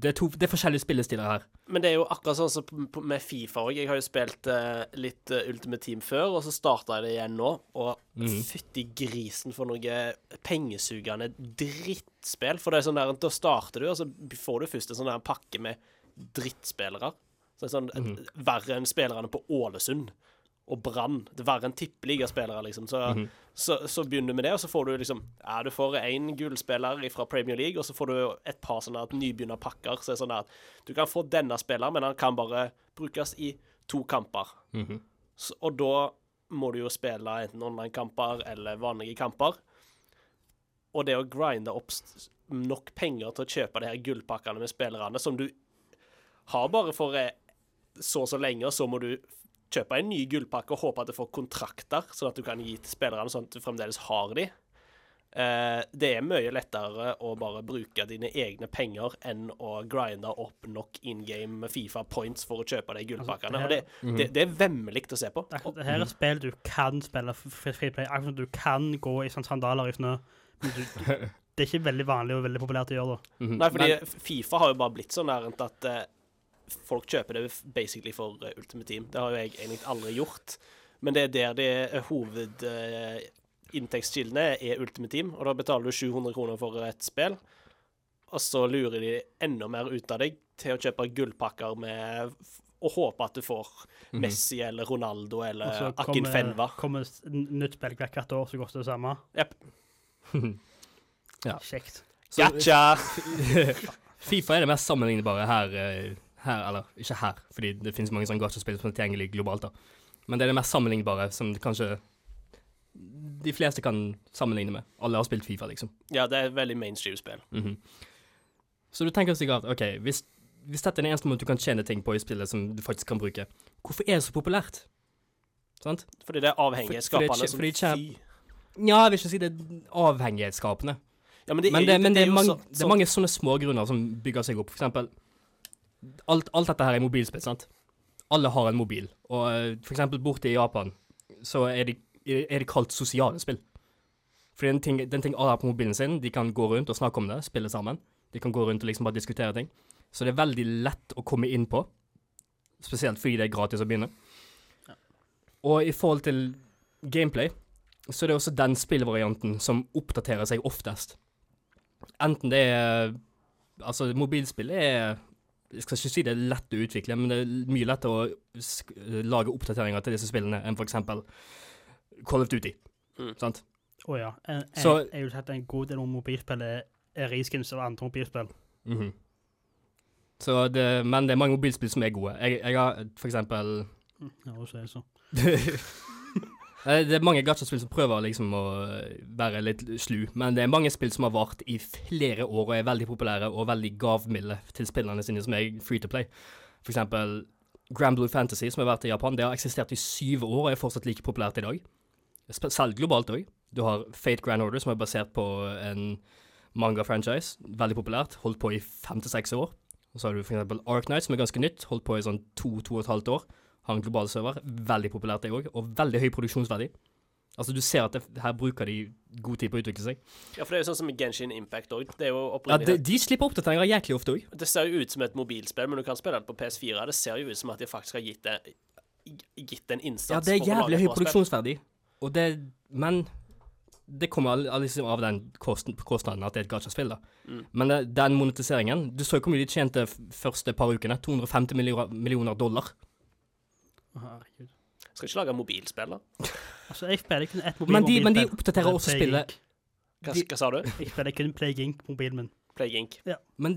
Speaker 2: Det er, to, det er forskjellige spillestiler her.
Speaker 6: Men det er jo akkurat sånn som på- på- med Fifa òg. Jeg har jo spilt eh, litt eh, Ultimate Team før, og så starta jeg det igjen nå. Og
Speaker 2: Mhm.
Speaker 6: fytti grisen for noe pengesugende drittspill. For det er sånn der, da starter du, og så får du først en sånn der pakke med drittspillere. Så det er sånn
Speaker 2: Mhm.
Speaker 6: Verre enn spillerne på Ålesund og Brann. Det er verre enn tippeligaspillere, liksom. Så,
Speaker 2: Mhm.
Speaker 6: så, så begynner du med det, og så får du liksom Ja, du får én gullspiller fra Premier League, og så får du et par sånne at nybegynnerpakker. Så det er sånn at du kan få denne spilleren, men han kan bare brukes i to kamper.
Speaker 2: Mhm.
Speaker 6: Så, og da må du jo spille enten online-kamper eller vanlige kamper. Og det å grinde opp s- nok penger til å kjøpe de her gullpakkene med spillerne, som du har bare for eh, så og så lenge, og så må du f- kjøpe en ny gullpakke og håpe at du får kontrakter, sånn at du kan gi til spillerne, sånn at du fremdeles har de. Eh, det er mye lettere å bare bruke dine egne penger enn å grinde opp nok in game Fifa points for å kjøpe de gullpakkene.
Speaker 4: det her-
Speaker 6: og det,
Speaker 2: Mhm.
Speaker 6: det, det er vemmelig å se på.
Speaker 4: Det, er- det her er et spill du kan spille f- f- free play. Akkurat som du kan gå i sånn sandaler i snø. Men du, du, det er ikke veldig vanlig og veldig populært å gjøre det.
Speaker 2: Mhm.
Speaker 6: Nei, fordi
Speaker 2: Men-
Speaker 6: Fifa har jo bare blitt sånn nærent at eh, folk kjøper det f- basically for eh, Ultimate Team. Det har jo jeg egentlig aldri gjort. Men det er eh, der de hovedinntektskildene er Ultimate Team, og da betaler du 700 kroner for et spill. Og så lurer de enda mer ut av deg til å kjøpe gullpakker med f- og håpe at du får
Speaker 2: Mhm.
Speaker 6: Messi eller Ronaldo
Speaker 4: Og
Speaker 6: eller
Speaker 4: så
Speaker 6: Akin Fenva.
Speaker 4: kommer, kommer s- n- nytt spill hvert hvert år, så koster det samme.
Speaker 6: Jep.
Speaker 2: Ja.
Speaker 4: Kjekt.
Speaker 2: Så-
Speaker 6: Gacha!
Speaker 2: Fifa er det mest sammenlignbare her, eh, her Eller ikke her, fordi det finnes mange sånne gacha-spill som er tilgjengelig globalt. da. Men det er det mest sammenlignbare som kanskje de fleste kan sammenligne med. Alle har spilt Fifa, liksom.
Speaker 6: Ja, det er et veldig mainstream spill.
Speaker 2: Mhm. Så du tenker sikkert at ok, hvis, hvis dette er den eneste måten du kan tjene ting på i spillet som du faktisk kan bruke, hvorfor er det så populært? Sant?
Speaker 6: Fordi det er avhengighetsskapende
Speaker 2: fordi- fordi
Speaker 6: som
Speaker 2: kjæ-
Speaker 6: fy.
Speaker 2: Ja, jeg vil ikke si det er avhengighetsskapende.
Speaker 6: Ja, men
Speaker 2: men det, men det, er
Speaker 6: jo
Speaker 2: mange,
Speaker 6: så-
Speaker 2: det er mange sånne små grunner som bygger seg opp. For eksempel, alt, alt dette her er mobilspill, sant? Alle har en mobil. Og eh, for eksempel borte i Japan, så er det, er det kalt sosiale spill. Fordi den ting, den ting alle har på mobilen sin, de kan gå rundt og snakke om det, spille sammen. De kan gå rundt og liksom bare diskutere ting. Så det er veldig lett å komme inn på. Spesielt fordi det er gratis å begynne. Og i forhold til gameplay, så er det også den spillvarianten som oppdaterer seg oftest. Enten det er Altså, mobilspill er Jeg skal ikke si det er lett å utvikle, men det er mye lettere å sk lage oppdateringer til disse spillene enn f.eks. Call of Duty.
Speaker 6: Mm.
Speaker 2: Sant?
Speaker 4: Å ja. En, en,
Speaker 2: Så-
Speaker 4: jeg vil si at en god del mobilspill er, er reskins av andre mobilspill.
Speaker 2: Mhm. Så det, men det er mange mobilspill som er gode. Jeg, jeg har for eksempel
Speaker 4: Ja, og så er det så.
Speaker 2: Nei, Det er mange gacha-spill som prøver liksom å være litt slu, men det er mange spill som har vart i flere år og er veldig populære og veldig gavmilde til spillerne sine, som er free to play. For eksempel Grand Blue Fantasy, som har vært i Japan, det har eksistert i syv år og er fortsatt like populært i dag. Sp- Selv globalt òg. Du har Fate Grand Order, som er basert på en manga-franchise. Veldig populært. Holdt på i fem til seks år. Og så har du for eksempel Ark Knight, som er ganske nytt. Holdt på i sånn to, to og et halvt år har en global server. Veldig populært, det òg, og veldig høy produksjonsverdi. Altså, du ser at det, her bruker de god tid på å utvikle seg.
Speaker 6: Ja, for det er jo sånn som Genshin Impact òg. Det er jo
Speaker 2: Ja, de,
Speaker 6: opprinnelig det,
Speaker 2: de slipper oppdateringer jæklig ofte òg.
Speaker 6: ser jo ut som et mobilspill, men du kan spille det på PS4. Det ser jo ut som at de faktisk har gitt det Gitt en innsats.
Speaker 2: Ja, det er
Speaker 6: for å lage
Speaker 2: jævlig
Speaker 6: et
Speaker 2: høy
Speaker 6: bra spill.
Speaker 2: produksjonsverdi, og det Men det kommer all- all- liksom av den kosten, kostnaden at det er et gacha-spill, da.
Speaker 6: Mm.
Speaker 2: Men eh, den monetiseringen Du så jo hvor mye de tjente f- første par ukene. 250 millioner, millioner dollar.
Speaker 4: Herregud.
Speaker 6: Skal ikke lage mobilspill, da.
Speaker 4: Altså, jeg spiller kun ett mobil
Speaker 2: Men de, men de
Speaker 4: mobilspill.
Speaker 2: oppdaterer
Speaker 4: Det er
Speaker 2: også
Speaker 4: Plague
Speaker 2: spillet.
Speaker 4: Inc.
Speaker 6: Hva,
Speaker 2: De-
Speaker 6: hva sa du?
Speaker 4: Jeg spiller kun Plague Inc. på mobilen min.
Speaker 6: Plague Inc.
Speaker 2: Men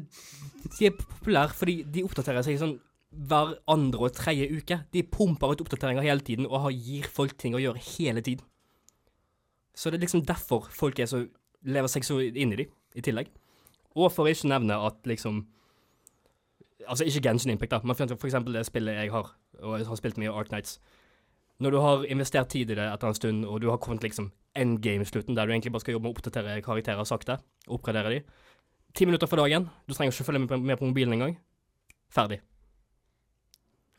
Speaker 2: de er populære fordi de oppdaterer seg sånn hver andre og tredje uke. De pumper ut oppdateringer hele tiden og har, gir folk ting å gjøre hele tiden. Så det er liksom derfor folk er så, lever seg så inn i de, i tillegg. Og for å ikke nevne at liksom Altså ikke Genshin Impact, da, men for for eksempel det spillet jeg har, og jeg har spilt mye Ark Nights. Når du har investert tid i det etter en stund, og du har kommet liksom endgame-slutten, der du egentlig bare skal jobbe med å oppdatere karakterer sakte, oppgradere de, ti minutter for dagen. Du trenger ikke følge med på, med på mobilen engang. Ferdig.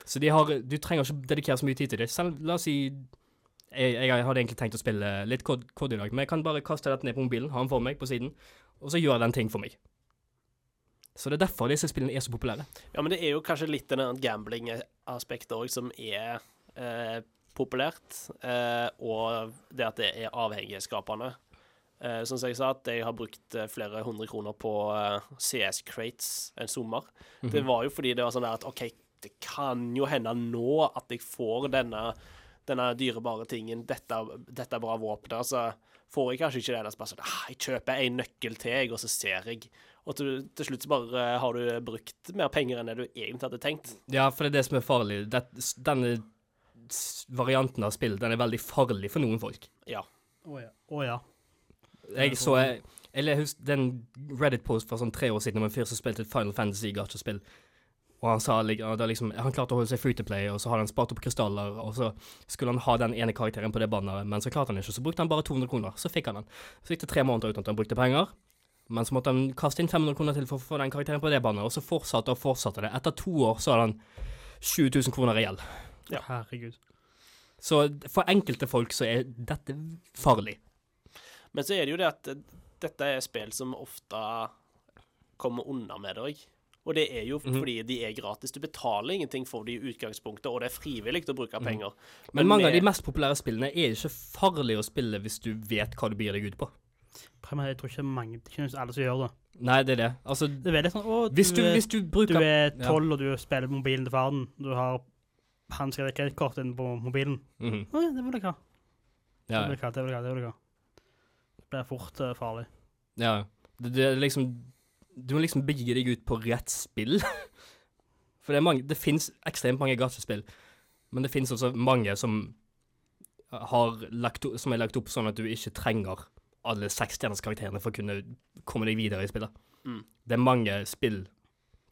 Speaker 2: Så de har, du trenger ikke dedikere så mye tid til det. Selv, la oss si jeg, jeg hadde egentlig tenkt å spille litt kod, kod i dag, men jeg kan bare kaste dette ned på mobilen, ha den for meg på siden, og så gjør den ting for meg. Så det er derfor disse spillene er så populære.
Speaker 6: Ja, men det er jo kanskje litt det der gambling-aspektet òg som er eh, populært, eh, og det at det er avhengighetsskapende. Eh, som jeg sa, at jeg har brukt eh, flere hundre kroner på eh, CS Crates en sommer. Det var jo fordi det var sånn der at OK, det kan jo hende nå at jeg får denne, denne dyrebare tingen, dette, dette er bra våpenet, altså får jeg kanskje ikke det, ellers bare sånn, ah, jeg kjøper en nøkkel til, jeg, og så ser jeg. Og til, til slutt så bare eh, har du brukt mer penger enn det du egentlig hadde tenkt.
Speaker 2: Ja, for det er det som er farlig. Det, denne s- varianten av spill, den er veldig farlig for noen folk.
Speaker 6: Ja.
Speaker 4: Å ja. Å ja.
Speaker 2: Jeg så jeg, Eller jeg husker den Reddit-post fra sånn tre år siden om en fyr som spilte et Final Fantasy-gatespill. Og han sa lik- ja, det er liksom, han klarte å holde seg free to play, og så hadde han spart opp krystaller, og så skulle han ha den ene karakteren på det banneret, men så klarte han ikke, så brukte han bare 200 kroner. Så fikk han den. Så gikk det tre måneder uten at han brukte penger. Men så måtte han kaste inn 500 kroner til for å få den karakteren på det banneret, og så fortsatte og fortsatte det. Etter to år så hadde han 7000 kroner i gjeld.
Speaker 4: Herregud.
Speaker 2: Så for enkelte folk så er dette farlig.
Speaker 6: Men så er det jo det at eh, dette er spill som ofte kommer unna med det òg. Og det er jo
Speaker 2: Mhm.
Speaker 6: fordi de er gratis. Du betaler ingenting for de i utgangspunktet, og det er frivillig å bruke
Speaker 2: Mhm.
Speaker 6: penger.
Speaker 2: Men, mange av
Speaker 6: med-
Speaker 2: de mest populære spillene er ikke farlige å spille hvis du vet hva du begir deg ut på.
Speaker 4: Premiere, jeg tror ikke mange Det er ikke alle som gjør det.
Speaker 2: Nei, det er det. Altså,
Speaker 4: Det er veldig sånn Å, du,
Speaker 2: hvis du,
Speaker 4: er-
Speaker 2: hvis du
Speaker 4: du
Speaker 2: bruker
Speaker 4: er
Speaker 2: ja.
Speaker 4: tolv, og du spiller på mobilen til verden. Du har hansker eller kredittkort inne på mobilen.
Speaker 2: Mhm.
Speaker 4: Å, ja, det vil jeg ha. Det
Speaker 2: Ja,
Speaker 4: vil jeg ha, det vil jeg ha. Det vil jeg ha. Det blir fort eh, farlig.
Speaker 2: ja. Det, det er liksom Du må liksom begir deg ut på rett spill. For det er mange Det fins ekstremt mange gatespill, men det fins også mange som har lagt, o- som er lagt opp sånn at du ikke trenger alle sekstjerners karakterene for å kunne komme deg videre i spillet.
Speaker 6: Mm.
Speaker 2: Det er mange spill,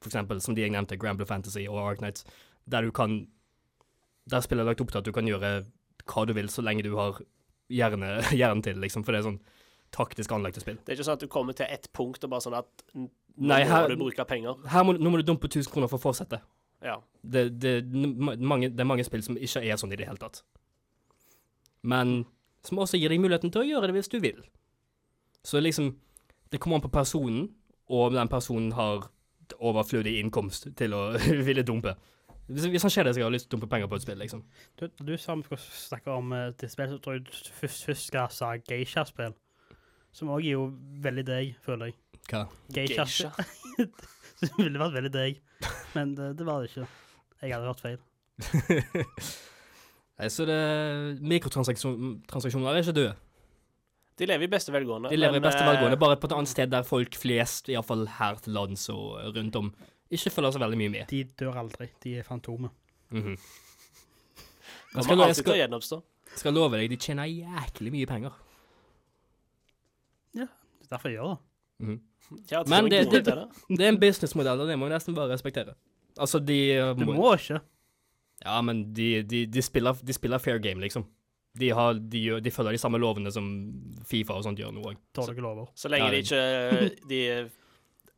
Speaker 2: for eksempel, som de jeg nevnte, Grand Blue Fantasy og Ark Knights, der du kan Der spillet er lagt opp til at du kan gjøre hva du vil så lenge du har hjerne, hjernen til, liksom, for det er sånn taktisk anlagte spill.
Speaker 6: Det er ikke sånn at du kommer til et punkt og bare sånn at n- nå
Speaker 2: Nei,
Speaker 6: må
Speaker 2: her-
Speaker 6: du bruke penger.
Speaker 2: Her må, du- nå må du dumpe 1000 kroner for å fortsette.
Speaker 6: Ja.
Speaker 2: Det, det, n- ma- mange, det er mange spill som ikke er sånn i det hele tatt. Men som også gir deg muligheten til å gjøre det hvis du vil. Så liksom Det kommer an på personen, og om den personen har overflødig innkomst til å ville dumpe. Hvis, hvis han kjeder seg og har lyst til å dumpe penger på et spill, liksom.
Speaker 4: Du, du sa vi skulle snakke om uh, det spillet, så tror jeg du først, først skal sa geisha-spill. Som òg er jo veldig deg, føler jeg.
Speaker 2: Hva?
Speaker 4: Geisha.
Speaker 6: Geisha.
Speaker 4: Det ville vært veldig deg, men det, det var det ikke. Jeg hadde hørt feil.
Speaker 2: Nei, så det Mikrotransaksjoner er ikke døde.
Speaker 6: De lever i beste velgående.
Speaker 2: De lever i
Speaker 6: men,
Speaker 2: beste
Speaker 6: eh,
Speaker 2: velgående, bare på et annet sted der folk flest, iallfall her til lands og rundt om, ikke følger så veldig mye med.
Speaker 4: De dør aldri. De er fantomer.
Speaker 2: Mhm. Jeg skal,
Speaker 6: Kommer
Speaker 2: lo- jeg
Speaker 6: alltid til å
Speaker 2: skal,
Speaker 6: gjenoppstå.
Speaker 2: skal love deg, de tjener jæklig mye penger.
Speaker 4: Det er derfor jeg gjør det.
Speaker 2: Mhm.
Speaker 6: Ja,
Speaker 2: Men
Speaker 6: tror jeg
Speaker 2: det-
Speaker 6: går til det.
Speaker 2: Det er en businessmodell, og det må jeg nesten bare respektere. Altså, de eh,
Speaker 4: Du
Speaker 2: må-
Speaker 4: må ikke.
Speaker 2: Ja, men de, de, de, spiller, de spiller fair game, liksom. De, har, de, gjør, de følger de samme lovene som Fifa og sånt gjør nå òg.
Speaker 4: Dårlige lover.
Speaker 6: Så lenge
Speaker 2: Ja,
Speaker 6: de
Speaker 2: det-
Speaker 6: ikke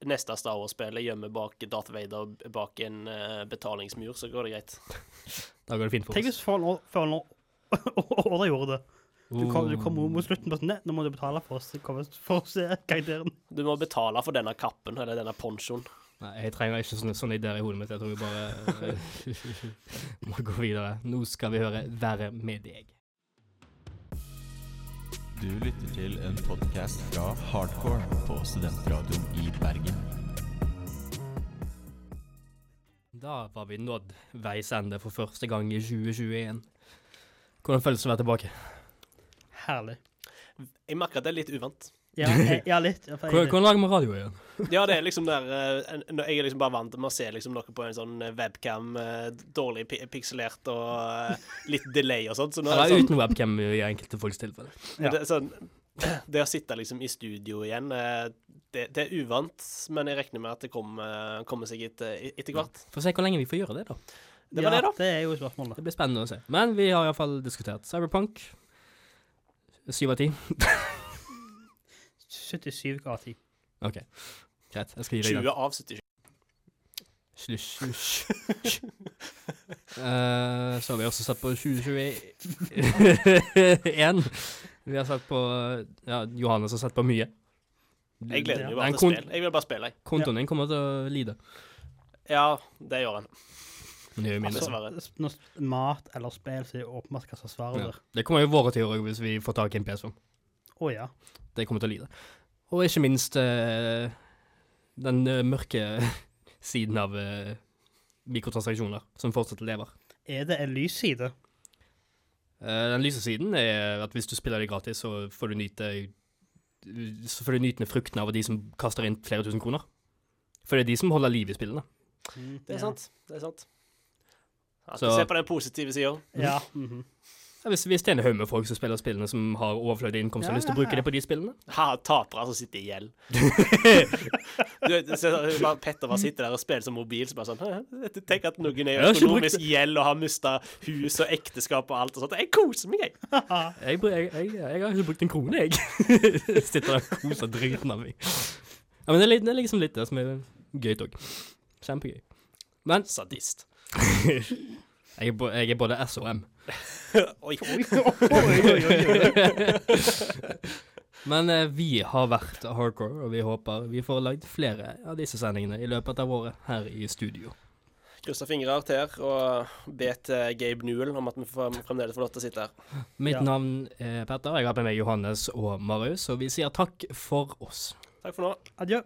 Speaker 6: de neste Star Wars-spillet gjemmer bak Darth Vader bak en eh, betalingsmur, så går det greit.
Speaker 2: Da går det fint for
Speaker 4: Tenk
Speaker 2: oss.
Speaker 4: hvis Fønor Orda gjorde det. Du kom, du kom mot slutten på sånn Nei, nå må du betale for oss. Kom oss- for å se karakteren.
Speaker 6: Du må betale for denne kappen, eller denne ponchoen.
Speaker 2: Nei, jeg trenger ikke sånne, sånne ideer i hodet mitt. Jeg tror vi bare eh, må gå videre. Nå skal vi høre 'Være med deg'.
Speaker 5: Du lytter til en podkast fra Hardcore på Studentradioen i Bergen.
Speaker 2: Da var vi nådd veis ende for første gang i 2021. Hvordan føles det å være tilbake?
Speaker 4: Herlig.
Speaker 6: Jeg merker at det er litt uvant.
Speaker 4: Ja, jeg, ja litt. Ja, for
Speaker 2: Hvordan
Speaker 4: jeg-
Speaker 2: hvordan lager man radio igjen?
Speaker 6: Ja, det er liksom der eh, en- Jeg er liksom bare vant med å se liksom noe på en sånn eh, webcam, eh, dårlig pi pikselert og eh, litt delay og sånt. Så nå er
Speaker 2: Eller
Speaker 6: det sånn,
Speaker 2: uten webcam i enkelte folks tilfelle.
Speaker 4: ja.
Speaker 6: det, er sånn det å sitte liksom i studio igjen, eh, det, det er uvant, men jeg regner med at det kommer, kommer seg etter, etter hvert.
Speaker 2: Få se hvor lenge vi får gjøre det, da.
Speaker 6: Det var
Speaker 4: ja,
Speaker 6: det, da.
Speaker 4: Det er jo spørsmålet.
Speaker 2: Det blir spennende å se. Men vi har iallfall diskutert Cyberpunk. Syv av ti.
Speaker 4: 77 av 10.
Speaker 2: OK, greit. Jeg skal gi deg den.
Speaker 6: 20 av 77.
Speaker 2: Slush, slush. Eh, så har vi også satt på 2021. vi har satt på Ja, Johannes har satt på mye.
Speaker 6: Jeg gleder meg jo
Speaker 2: Ja.
Speaker 6: bare
Speaker 2: Den
Speaker 6: til
Speaker 2: kon-
Speaker 6: spill. Jeg vil bare spille, jeg.
Speaker 2: Kontoen din kommer til å lide.
Speaker 6: Ja, det gjør han.
Speaker 2: Men det gjør jo liksom. mindre.
Speaker 6: Altså- Dessverre.
Speaker 4: s- når s- mat eller spill, så er det åpenbart hva som er svaret
Speaker 2: Ja.
Speaker 4: der.
Speaker 2: Det kommer jo våre til å gjøre hvis vi får tak i en PS5.
Speaker 4: Å ja.
Speaker 2: Det kommer til å lide. Og ikke minst eh, den eh, mørke siden av eh, mikrotransaksjoner som fortsatt lever.
Speaker 4: Er det en lys side?
Speaker 2: Eh, Den lyse siden er at hvis du spiller det gratis, så får du nyte så får du nytende frukten av de som kaster inn flere tusen kroner. For det er de som holder liv i spillene.
Speaker 6: Det er sant. Det er sant. Ja,
Speaker 2: Så-
Speaker 6: Se på den positive sida.
Speaker 4: Ja. mhm.
Speaker 2: Ja, Hvis, hvis det er en haug med folk som spiller spillene som har overflødig inntekt og har lyst til å bruke det på de spillene
Speaker 6: Ha, tapere som sitter i gjeld. du, vet, se, bare Petter bare sitter der og spiller som mobil, så bare sånn «Hæ? Tenk at noen er i
Speaker 2: Jeg har ikke brukt
Speaker 6: økonomisk gjeld og har mista hus og ekteskap og alt og sånt. Jeg koser meg, jeg.
Speaker 2: Jeg, br- jeg, jeg, jeg har ikke brukt en krone, jeg. Sitter der og koser driten av meg. Ja, men det er, litt, det er liksom litt det som er gøy òg. Kjempegøy. Men
Speaker 6: Sadist.
Speaker 2: jeg er, bo- jeg er både S og M.
Speaker 6: Oi.
Speaker 2: Men eh, vi har vært hardcore, og vi håper vi får lagd flere av disse sendingene i løpet av året her i studio.
Speaker 6: Krysser fingre og tær og be til Gabe Newell om at vi får- fremdeles får lov til å sitte her.
Speaker 2: Mitt
Speaker 4: Ja.
Speaker 2: navn er Petter, jeg har med meg Johannes og Marius, og vi sier takk for oss.
Speaker 6: Takk for nå.
Speaker 4: Adjø.